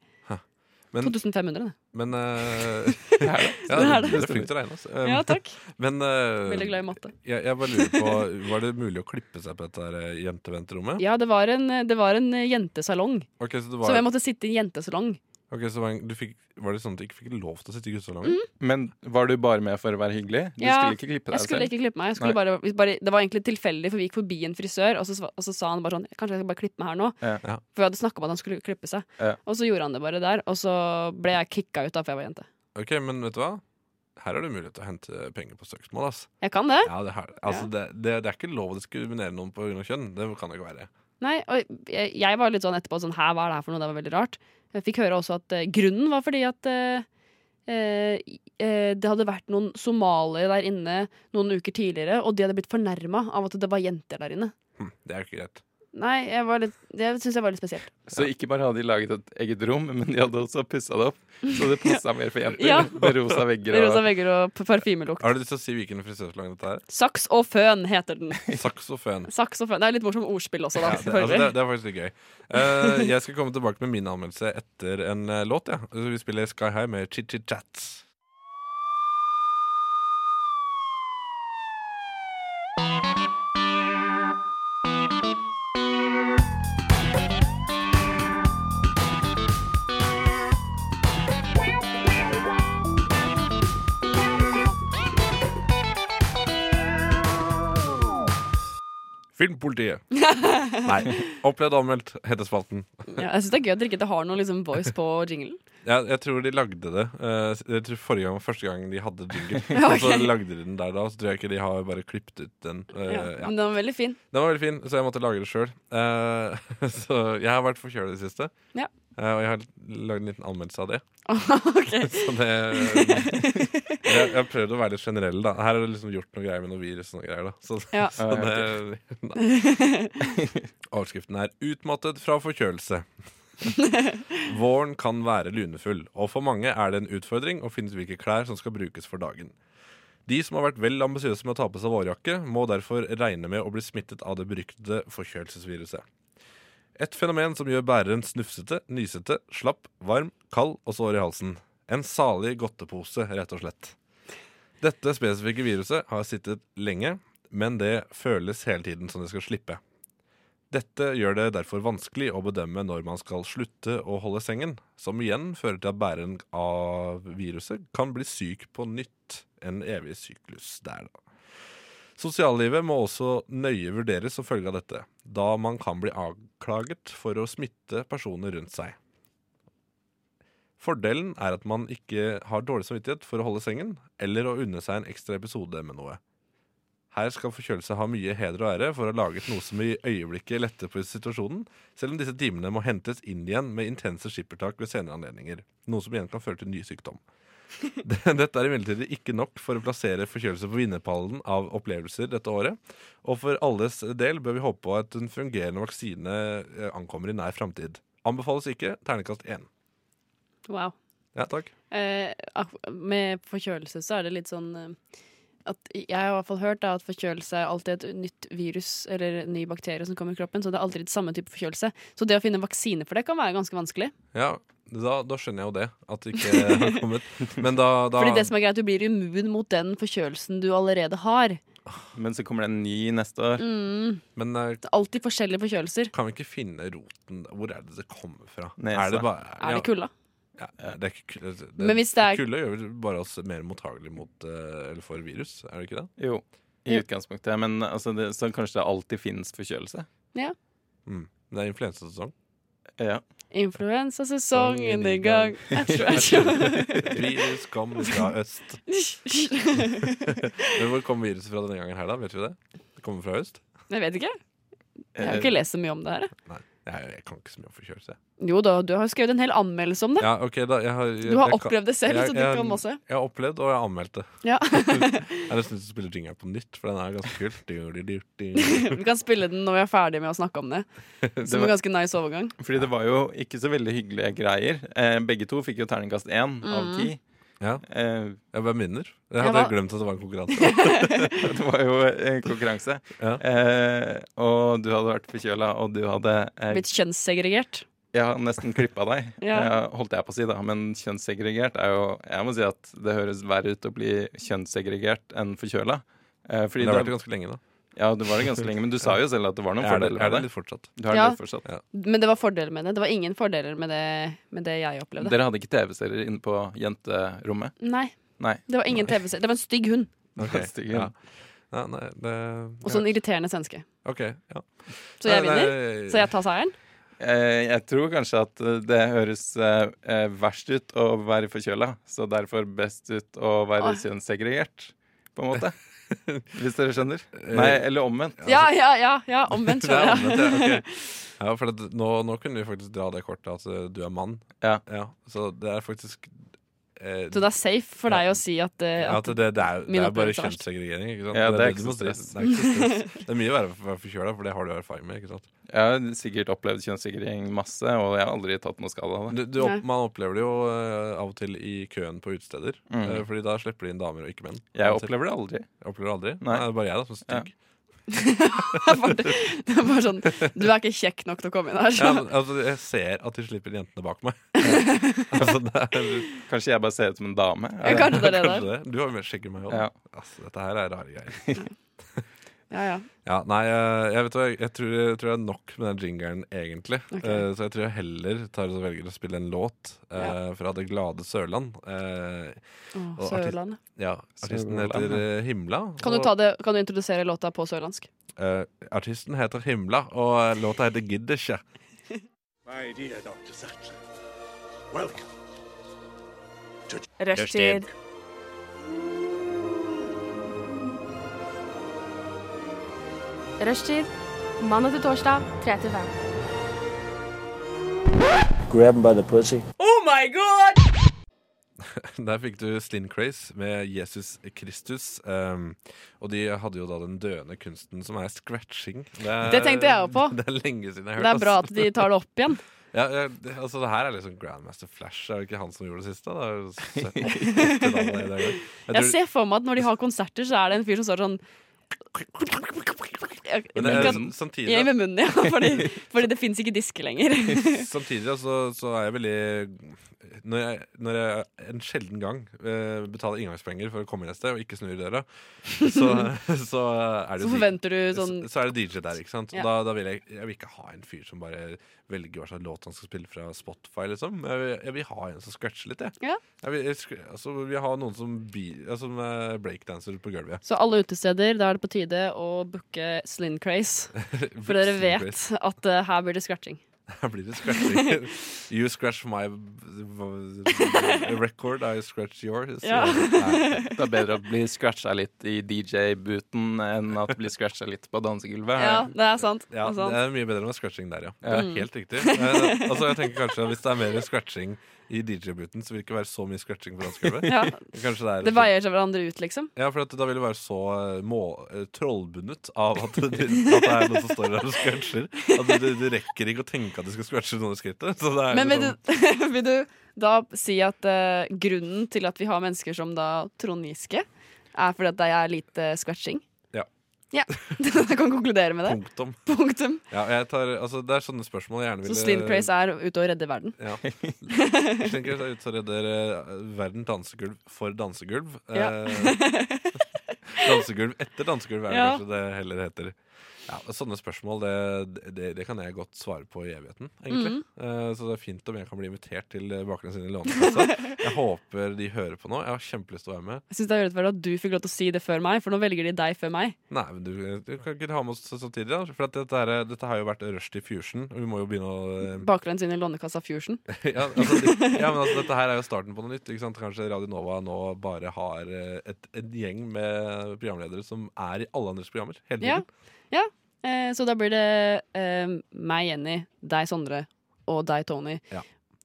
Men-
2500, det.
Men eh,
er det.
ja,
Det er
du
det.
er flink til å regne. Altså. Eh,
Ja, takk.
Men eh,
Veldig glad i matte.
Jeg, jeg bare lurer på, Var det mulig å klippe seg på dette her, eh, jenteventerommet?
Ja, det var en, det var en eh, jentesalong,
Ok, så det
så
var,
jeg måtte sitte i en jentesalong.
ok, så var, du fikk, var det sånn at du ikke fikk lov til å sitte i guttesalongen?
Men var du bare med for å være hyggelig? Du
Ja,
skulle ikke klippe
Jeg
deg
skulle
selv?
ikke klippe meg. Jeg skulle bare, hvis bare, det var egentlig tilfeldig, for vi gikk forbi en frisør, og så, sva- og så sa han bare sånn Kanskje jeg skal bare klippe meg her nå?
Ja.
Ja.
For vi hadde snakka om at han skulle klippe seg.
Ja.
Og så gjorde han det bare der, og så ble jeg kicka ut da, for jeg var jente.
Ok, men vet du hva? Her er det mulighet til å hente penger på søksmål. ass.
Jeg kan det.
Ja, det, her, altså, det, det, det er ikke lov å diskriminere noen pga. kjønn. Det kan det ikke være.
Nei, og jeg, jeg var litt sånn etterpå sånn Hæ, hva er det her for noe? Det var veldig rart. Jeg fikk høre også at eh, grunnen var fordi at eh, eh, eh, det hadde vært noen somaliere der inne noen uker tidligere, og de hadde blitt fornærma av at det var jenter der inne.
Hm, det er jo ikke greit.
Nei, jeg var litt, det syns jeg var litt spesielt.
Så ikke bare hadde de laget et eget rom, men de hadde også pussa det opp. Så det passa mer for jenter.
Ja.
Med rosa vegger og
Rosa vegger og p- parfymelukt.
Har du lyst til å si hvilken frisørsalong dette er?
Saks og føn heter den.
Saksofon.
Saks og føn. Det er litt morsomt ordspill også,
Ja,
da.
det, altså, det,
selvfølgelig.
det er faktisk litt gøy. Eh, jeg skal komme tilbake med min anmeldelse etter en eh, låt. Ja. Så Vi spiller Sky High med Chit Chit Chats. Filmpolitiet. Nei. Opplevd og anmeldt, heter spalten.
Ja, jeg syns det er gøy at dere ikke har noe liksom, voice på jinglen.
Jeg, jeg tror de lagde det. eh, jeg tror forrige gang var første gang de hadde jingle.
Ja, ok.
Og så lagde de den der da, så tror jeg ikke de har bare klippet ut den. eh,
Ja.
ja.
Men den var veldig fin.
Den var veldig fin, så jeg måtte lage det sjøl. så jeg har vært forkjøla i det siste.
Ja.
Eh, og jeg har lagd en liten anmeldelse av det.
Ok.
Så det jeg, jeg har prøvd å være litt generell, da. Her har jeg liksom gjort noe greier med noe virus og noe greier, da. Så,
Ja.
så det, nei. Overskriften er 'Utmattet fra forkjølelse'. Våren kan være lunefull, og for mange er det en utfordring å finne ut hvilke klær som skal brukes for dagen. De som har vært vel ambisiøse med å ta på seg vårjakke, må derfor regne med å bli smittet av det beryktede forkjølelsesviruset. Et fenomen som gjør bæreren snufsete, nysete, slapp, varm, kald og sår i halsen. En salig godtepose, rett og slett. Dette spesifikke viruset har sittet lenge, men det føles hele tiden som det skal slippe. Dette gjør det derfor vanskelig å bedømme når man skal slutte å holde sengen, som igjen fører til at bæreren av viruset kan bli syk på nytt. En evig syklus der, da. Sosiallivet må også nøye vurderes som følge av dette, da man kan bli avklaget for å smitte personer rundt seg. Fordelen er at man ikke har dårlig samvittighet for å holde sengen, eller å unne seg en ekstra episode med noe. Her skal forkjølelse ha mye heder og ære for å ha laget noe som i øyeblikket letter på situasjonen, selv om disse timene må hentes inn igjen med intense skippertak ved senere anledninger, noe som igjen kan føre til ny sykdom. Det- Dette er imidlertid ikke nok for å plassere forkjølelse på vinnerpallen av opplevelser dette året, og for alles del bør vi håpe på at en fungerende vaksine eh, ankommer i nær framtid. Anbefales ikke ternekast én.
Wow.
Ja, takk.
Eh, ak- med forkjølelse så er det litt sånn eh, at Jeg har i hvert fall hørt da, at forkjølelse er alltid et nytt virus eller en ny bakterie som kommer i kroppen. Så det er alltid litt samme type forkjølelse. Så det å finne vaksine for det kan være ganske vanskelig.
Ja, da, da skjønner jeg jo det, at det ikke har kommet. Men da, da
Fordi det som er greit, du blir immun mot den forkjølelsen du allerede har.
Men så kommer det en ny neste år.
Mm,
Men eh,
det er alltid forskjellige forkjølelser.
kan vi ikke finne roten Hvor er det det kommer fra?
Nesa.
Er det bare
Er det kulda?
Ja, ja, det er ikke kulde. Det,
Men hvis det er-
kulde gjør vel bare oss mer mottagelige mot eh, eller for virus, er det ikke det?
Jo, i utgangspunktet. Men altså, det, så kanskje det alltid finnes forkjølelse.
Mm. Det er influensasesong.
Ja.
Influensasesongen i gang. Æsj, æsj.
Virus kom fra øst. Men hvor kom viruset fra denne gangen her, da? Vet vi det? Det kommer fra øst?
Jeg vet ikke. Jeg
Eh,
har ikke lest så mye om det her. jeg.
Jeg, jeg kan ikke så mye om forkjølelse.
Jo da, du har skrevet en hel anmeldelse om det.
Ja, ok, da, jeg har, jeg,
Du har
jeg kan-
opplevd det selv,
jeg-
så du
jeg-
kan masse.
Jeg har opplevd, og jeg har anmeldt det.
Ja.
Jeg har lyst til å spille jingeren på nytt, for den er ganske kul. Du, du, du, du.
Vi kan spille den når vi er ferdige med å snakke om det. Som en
var-
ganske nice overgang.
Fordi det var jo ikke så veldig hyggelige greier. Eh, begge to fikk jo terningkast én av
Mm.
ti.
Ja.
Eh,
Ja, Hvem vinner? Jeg
Ja,
hadde
hva-
glemt at det var en konkurranse.
det var jo eh, konkurranse.
Ja.
Eh, og du hadde vært forkjøla, og du hadde eh,
Blitt kjønnssegregert.
Jeg har nesten klippa deg,
Ja.
eh, holdt jeg på å si, da. Men kjønnssegregert er jo Jeg må si at det høres verre ut å bli kjønnssegregert enn forkjøla. Eh, fordi
Det har vært
det,
ganske lenge, da.
ja, du var det ganske lenge, men du sa jo selv at det var noen
Er det,
fordeler
er det
med det.
litt fortsatt?
Du har
Ja.
det fortsatt.
Men det var fordeler med det. Det var ingen fordeler med det, med det jeg opplevde.
Dere hadde ikke TV-serier inne på jenterommet?
Nei,
Nei.
det var ingen TV-serie. Det var en stygg hund
Ok,
Det er stygg.
ja. Nei, nei, det
og så en irriterende svenske.
OK. Ja.
Så jeg
Nei,
vinner.
nei,
Så jeg tar seieren.
Eh, jeg tror kanskje at eh, det høres eh, eh, verst ut å være forkjøla, så derfor best ut å være
Åh.
kjønnssegregert, på en måte. Hvis dere skjønner. Nei, eller omvendt.
Eh, Ja, ja, ja. ja Omvendt,
eh, Det er
skjønner jeg.
omvendt, ja. ok. ja, for at nå, nå kunne vi faktisk dra det kortet at eh, du er mann.
Ja.
så det er faktisk eh,
Så det er safe for deg å si at, eh,
ja, at det, det er,
min
det er bare
opplevelse er verst.
kjønnssegregering. Ikke sant?
Ja, det er
du
ikke
må si.
så stress.
Det er ikke så stress. Det er mye verre å være forkjøla, for det har du erfaring med. Ikke sant?
Jeg har sikkert opplevd kjønnssikrering masse, og jeg har aldri tatt noe skade av det.
Du, du, opp-
Nei.
man opplever det jo eh, av og til i køen på utesteder,
Mm.
eh, Fordi da slipper de inn damer og ikke menn.
Jeg
Av og til.
opplever det aldri.
Jeg opplever det aldri. Nei.
Nei.
det er bare jeg da, som er stygg.
for det. det er bare sånn Du er ikke kjekk nok til å komme inn her.
Ja,
Så.
men, altså, jeg ser at de slipper jentene bak meg. altså, det er,
Kanskje jeg bare ser ut som en dame? Er
Ja,
det-
kanskje det er det
kanskje
der.
det. Du har jo mer skjegg enn meg òg.
Ja.
Altså, dette her er rare greier.
Ja, ja.
Ja, nei, eh, jeg, vet, hva, jeg, tror, jeg tror jeg er nok med den jingeren, egentlig.
Ok.
Eh, så jeg tror jeg heller tar og velger å spille en låt eh,
Ja.
fra Det glade Sørland. Eh,
Å,
Og artist-
Sørlandet.
ja, Artisten
Sørland,
heter eh, Himla.
Kan du, ta det, kan du introdusere låta på sørlandsk?
Eh, artisten heter Himla, og eh, låta heter Gidder ikke.
My dear Dr. Sattler, welcome.
Rushtid. Rushtid. Mandag til torsdag, 3 til 5.
Der fikk du Slin Craze med Jesus Kristus. ehm, og de hadde jo da den døende kunsten som er scratching. er,
Det tenkte jeg også på.
Det er lenge siden jeg har
Det
hørt
er
altså.
bra at de tar det opp igjen.
Ja, ja, det- altså det her er liksom Grandmaster Flash. Er det ikke han som gjorde det siste? Da? Det er jo sett- åtte dager i dag. Jeg
Jeg
tror-
ser for meg at når de har konserter, så er det en fyr som står sånn Jeg-
men det er-
ikke at-
samtidig,
Jeg med munnen, ja. Fordi, fordi det fins ikke disker lenger.
Samtidig altså, så er jeg veldig Når jeg, når jeg en sjelden gang eh, betaler inngangspenger for å komme inn et sted, og ikke snur døra, så, så er det
Så
jo
forventer du
så,
sånn
så er det DJ der, ikke sant? Og
Ja.
Da, da vil jeg, jeg vil ikke ha en fyr som bare velger hva slags låt han skal spille fra Spotify, liksom. Jeg vil, jeg vil ha en som scratcher litt, jeg.
Ja.
Jeg vil, jeg, sk- altså, vi har noen som, bi, ja, som eh, breakdanser på gulvet.
Så alle utesteder, da er det på tide å booke Slin Craze. For dere vet at eh, her blir det scratching.
Her blir det scratching. You scratch my v- record, I scratch yours.
Ja.
Det er bedre å bli scratcha litt i DJ-booten enn at bli scratcha litt på dansegulvet.
Ja, det er sant. Det
Ja,
er sant. Mm.
det er mye bedre med scratching der, ja. Det er Helt riktig. Eh, altså, jeg tenker kanskje at Hvis det er mer scratching i DJ-booten, så vil det ikke være så mye scratching på dansegulvet.
Ja,
Kanskje det er
det veier seg hverandre ut, liksom.
Ja, for at da vil det være så eh, mål, eh, trollbundet av at det, at det er noen som står der og scratcher. At du, du rekker ikke å tenke at du skal scratche noen i skrittet. Så det er
Men vil
liksom-
du, vil du da si at eh, grunnen til at vi har mennesker som da Trond Giske, er fordi at det er lite scratching?
Ja.
Ja, Jeg kan konkludere med det.
Punktum.
Punktum.
Ja, jeg tar, altså, det er sånne spørsmål jeg gjerne
Så
ville
Slim Craze er ute og redder verden.
Ja. Jeg tenker jeg ut og redder eh, verden dansegulv for dansegulv.
Ja.
Eh, dansegulv etter dansegulv er det
Ja.
kanskje det heller heter. Ja, Sånne spørsmål det, det, det kan jeg godt svare på i evigheten, egentlig.
Mhm.
Eh, så det er fint om jeg kan bli invitert til eh, bakgrunnen sin i Lånekassa. Jeg håper de hører på nå. Jeg har kjempelyst til å være med.
Jeg synes det er urettferdig at du fikk lov til å si det før meg, for nå velger de deg før meg.
Nei, men du, du kan ikke ha med oss samtidig, da. For at dette, er, dette har jo vært Rushdie Fusion, og vi må jo begynne å eh,
Bakgrunnen sin i Lånekassa Fusion.
ja, altså, det, ja, men altså, dette her er jo starten på noe nytt. Ikke sant? Kanskje Radio Nova nå bare har eh, et, en gjeng med programledere som er i alle andres programmer hele
Ja.
tiden.
ja. Eh, så da blir det eh, meg, Jenny, deg, Sondre, og deg, Tony.
Ja.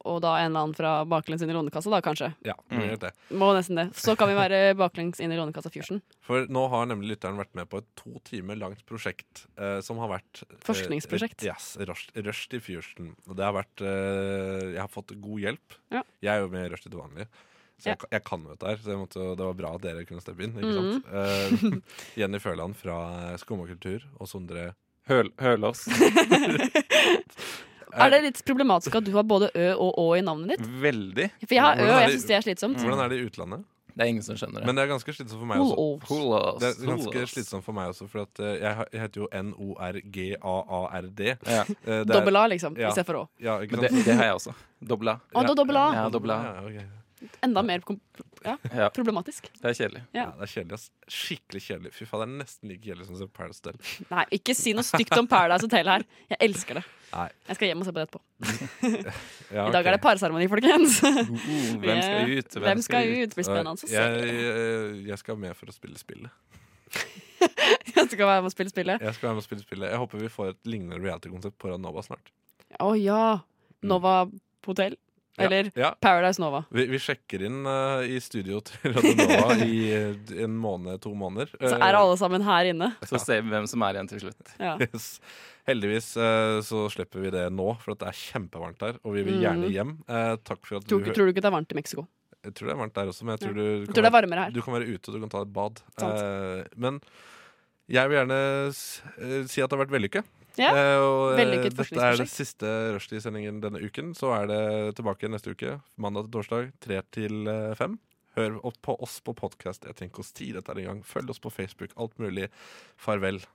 Og da en eller annen fra baklengs inn i Lånekassa, da kanskje.
Ja, det er det.
Må nesten det. Så kan vi være baklengs inn i Lånekassa Fusion.
For nå har nemlig lytteren vært med på et to timer langt prosjekt eh, som har vært eh,
Forskningsprosjekt.
eh, yes, Rush, Rush to Fusion. Og det har vært eh, Jeg har fått god hjelp.
Ja.
Jeg er jo med i Rush til vanlig. Så
Ja. Mhm.
jeg, kan- jeg kan jo dette her, så jeg måtte, jo- det var bra at dere kunne steppe inn. Ikke sant? Eh, Jenny Føland fra Skum og kultur og Sondre
Høl, hølås.
Er det litt problematisk at du har både Ø og Å i navnet ditt?
Veldig.
For jeg har Ø,
Hvordan
og
er
jeg
det-
syns det er slitsomt.
Hvordan er det i utlandet?
Det er ingen som skjønner det.
Men det er ganske slitsomt for meg også.
Hol-Å.
Hølås.
Det er ganske
hølås.
slitsomt for meg også, for at eh, jeg, har- jeg heter jo N-O-R-G-A-A-R-D.
Ja.
Eh, det er-
Dobbel A, liksom,
Ja.
istedenfor Å.
Ja, ikke
Men
sant?
det, det har jeg også. Dobla.
Å, da dobbel A.
Ja, dobbel A.
Ja, ok.
Enda mer kom ja,
Ja.
problematisk.
Det er kjedelig.
Ja,
Ja.
det er kjedelig, ass. Skikkelig kjedelig. Fy faen, det er nesten like kjedelig som å se Paradise Hotel.
Nei, ikke si noe stygt om Paradise Hotel her. Jeg elsker det.
Nei.
Jeg skal hjem og se på det etterpå.
Ja,
I dag
ok.
er det parseremoni, folkens.
Uh, Hvem skal ut?
Hvem skal ut? Det blir spennende å se.
Jeg, eh, jeg, jeg skal med for å spille spillet.
Jeg skal være med og spille spillet.
Jeg skal være med og spille spillet Jeg håper vi får et lignende reality-konsept på Ranova snart.
Å ja. Nova Hotel. Eller
Mm. Ja, ja.
Paradise Nova.
Vi, vi sjekker inn eh, i studio til Ranova i eh, en måned, to måneder.
Så er alle sammen her inne.
Så ser vi hvem som er igjen til slutt.
Ja.
Yes. Heldigvis eh, så slipper vi det nå, for at det er kjempevarmt her, og vi vil gjerne hjem. Eh, takk for at du
Mhm. Tror, ikke- tror du ikke det er varmt i Mexico?
Jeg tror det er varmt der også, men jeg tror du,
Jeg
kan
tror det er
være-
varmere her.
du kan være ute og du kan ta et bad.
Sant.
Eh, men jeg vil gjerne s eh, si at det har vært vellykket.
Ja,
Eh, og, eh,
vellykket
dette er den
forskningsprosjekt.
siste rushtidssendingen denne uken. Så er det tilbake neste uke, mandag til torsdag, tre til eh, fem. Hør opp på oss på podkast. Jeg tenker oss tid dette er i gang. Følg oss på Facebook. Alt mulig. Farvel.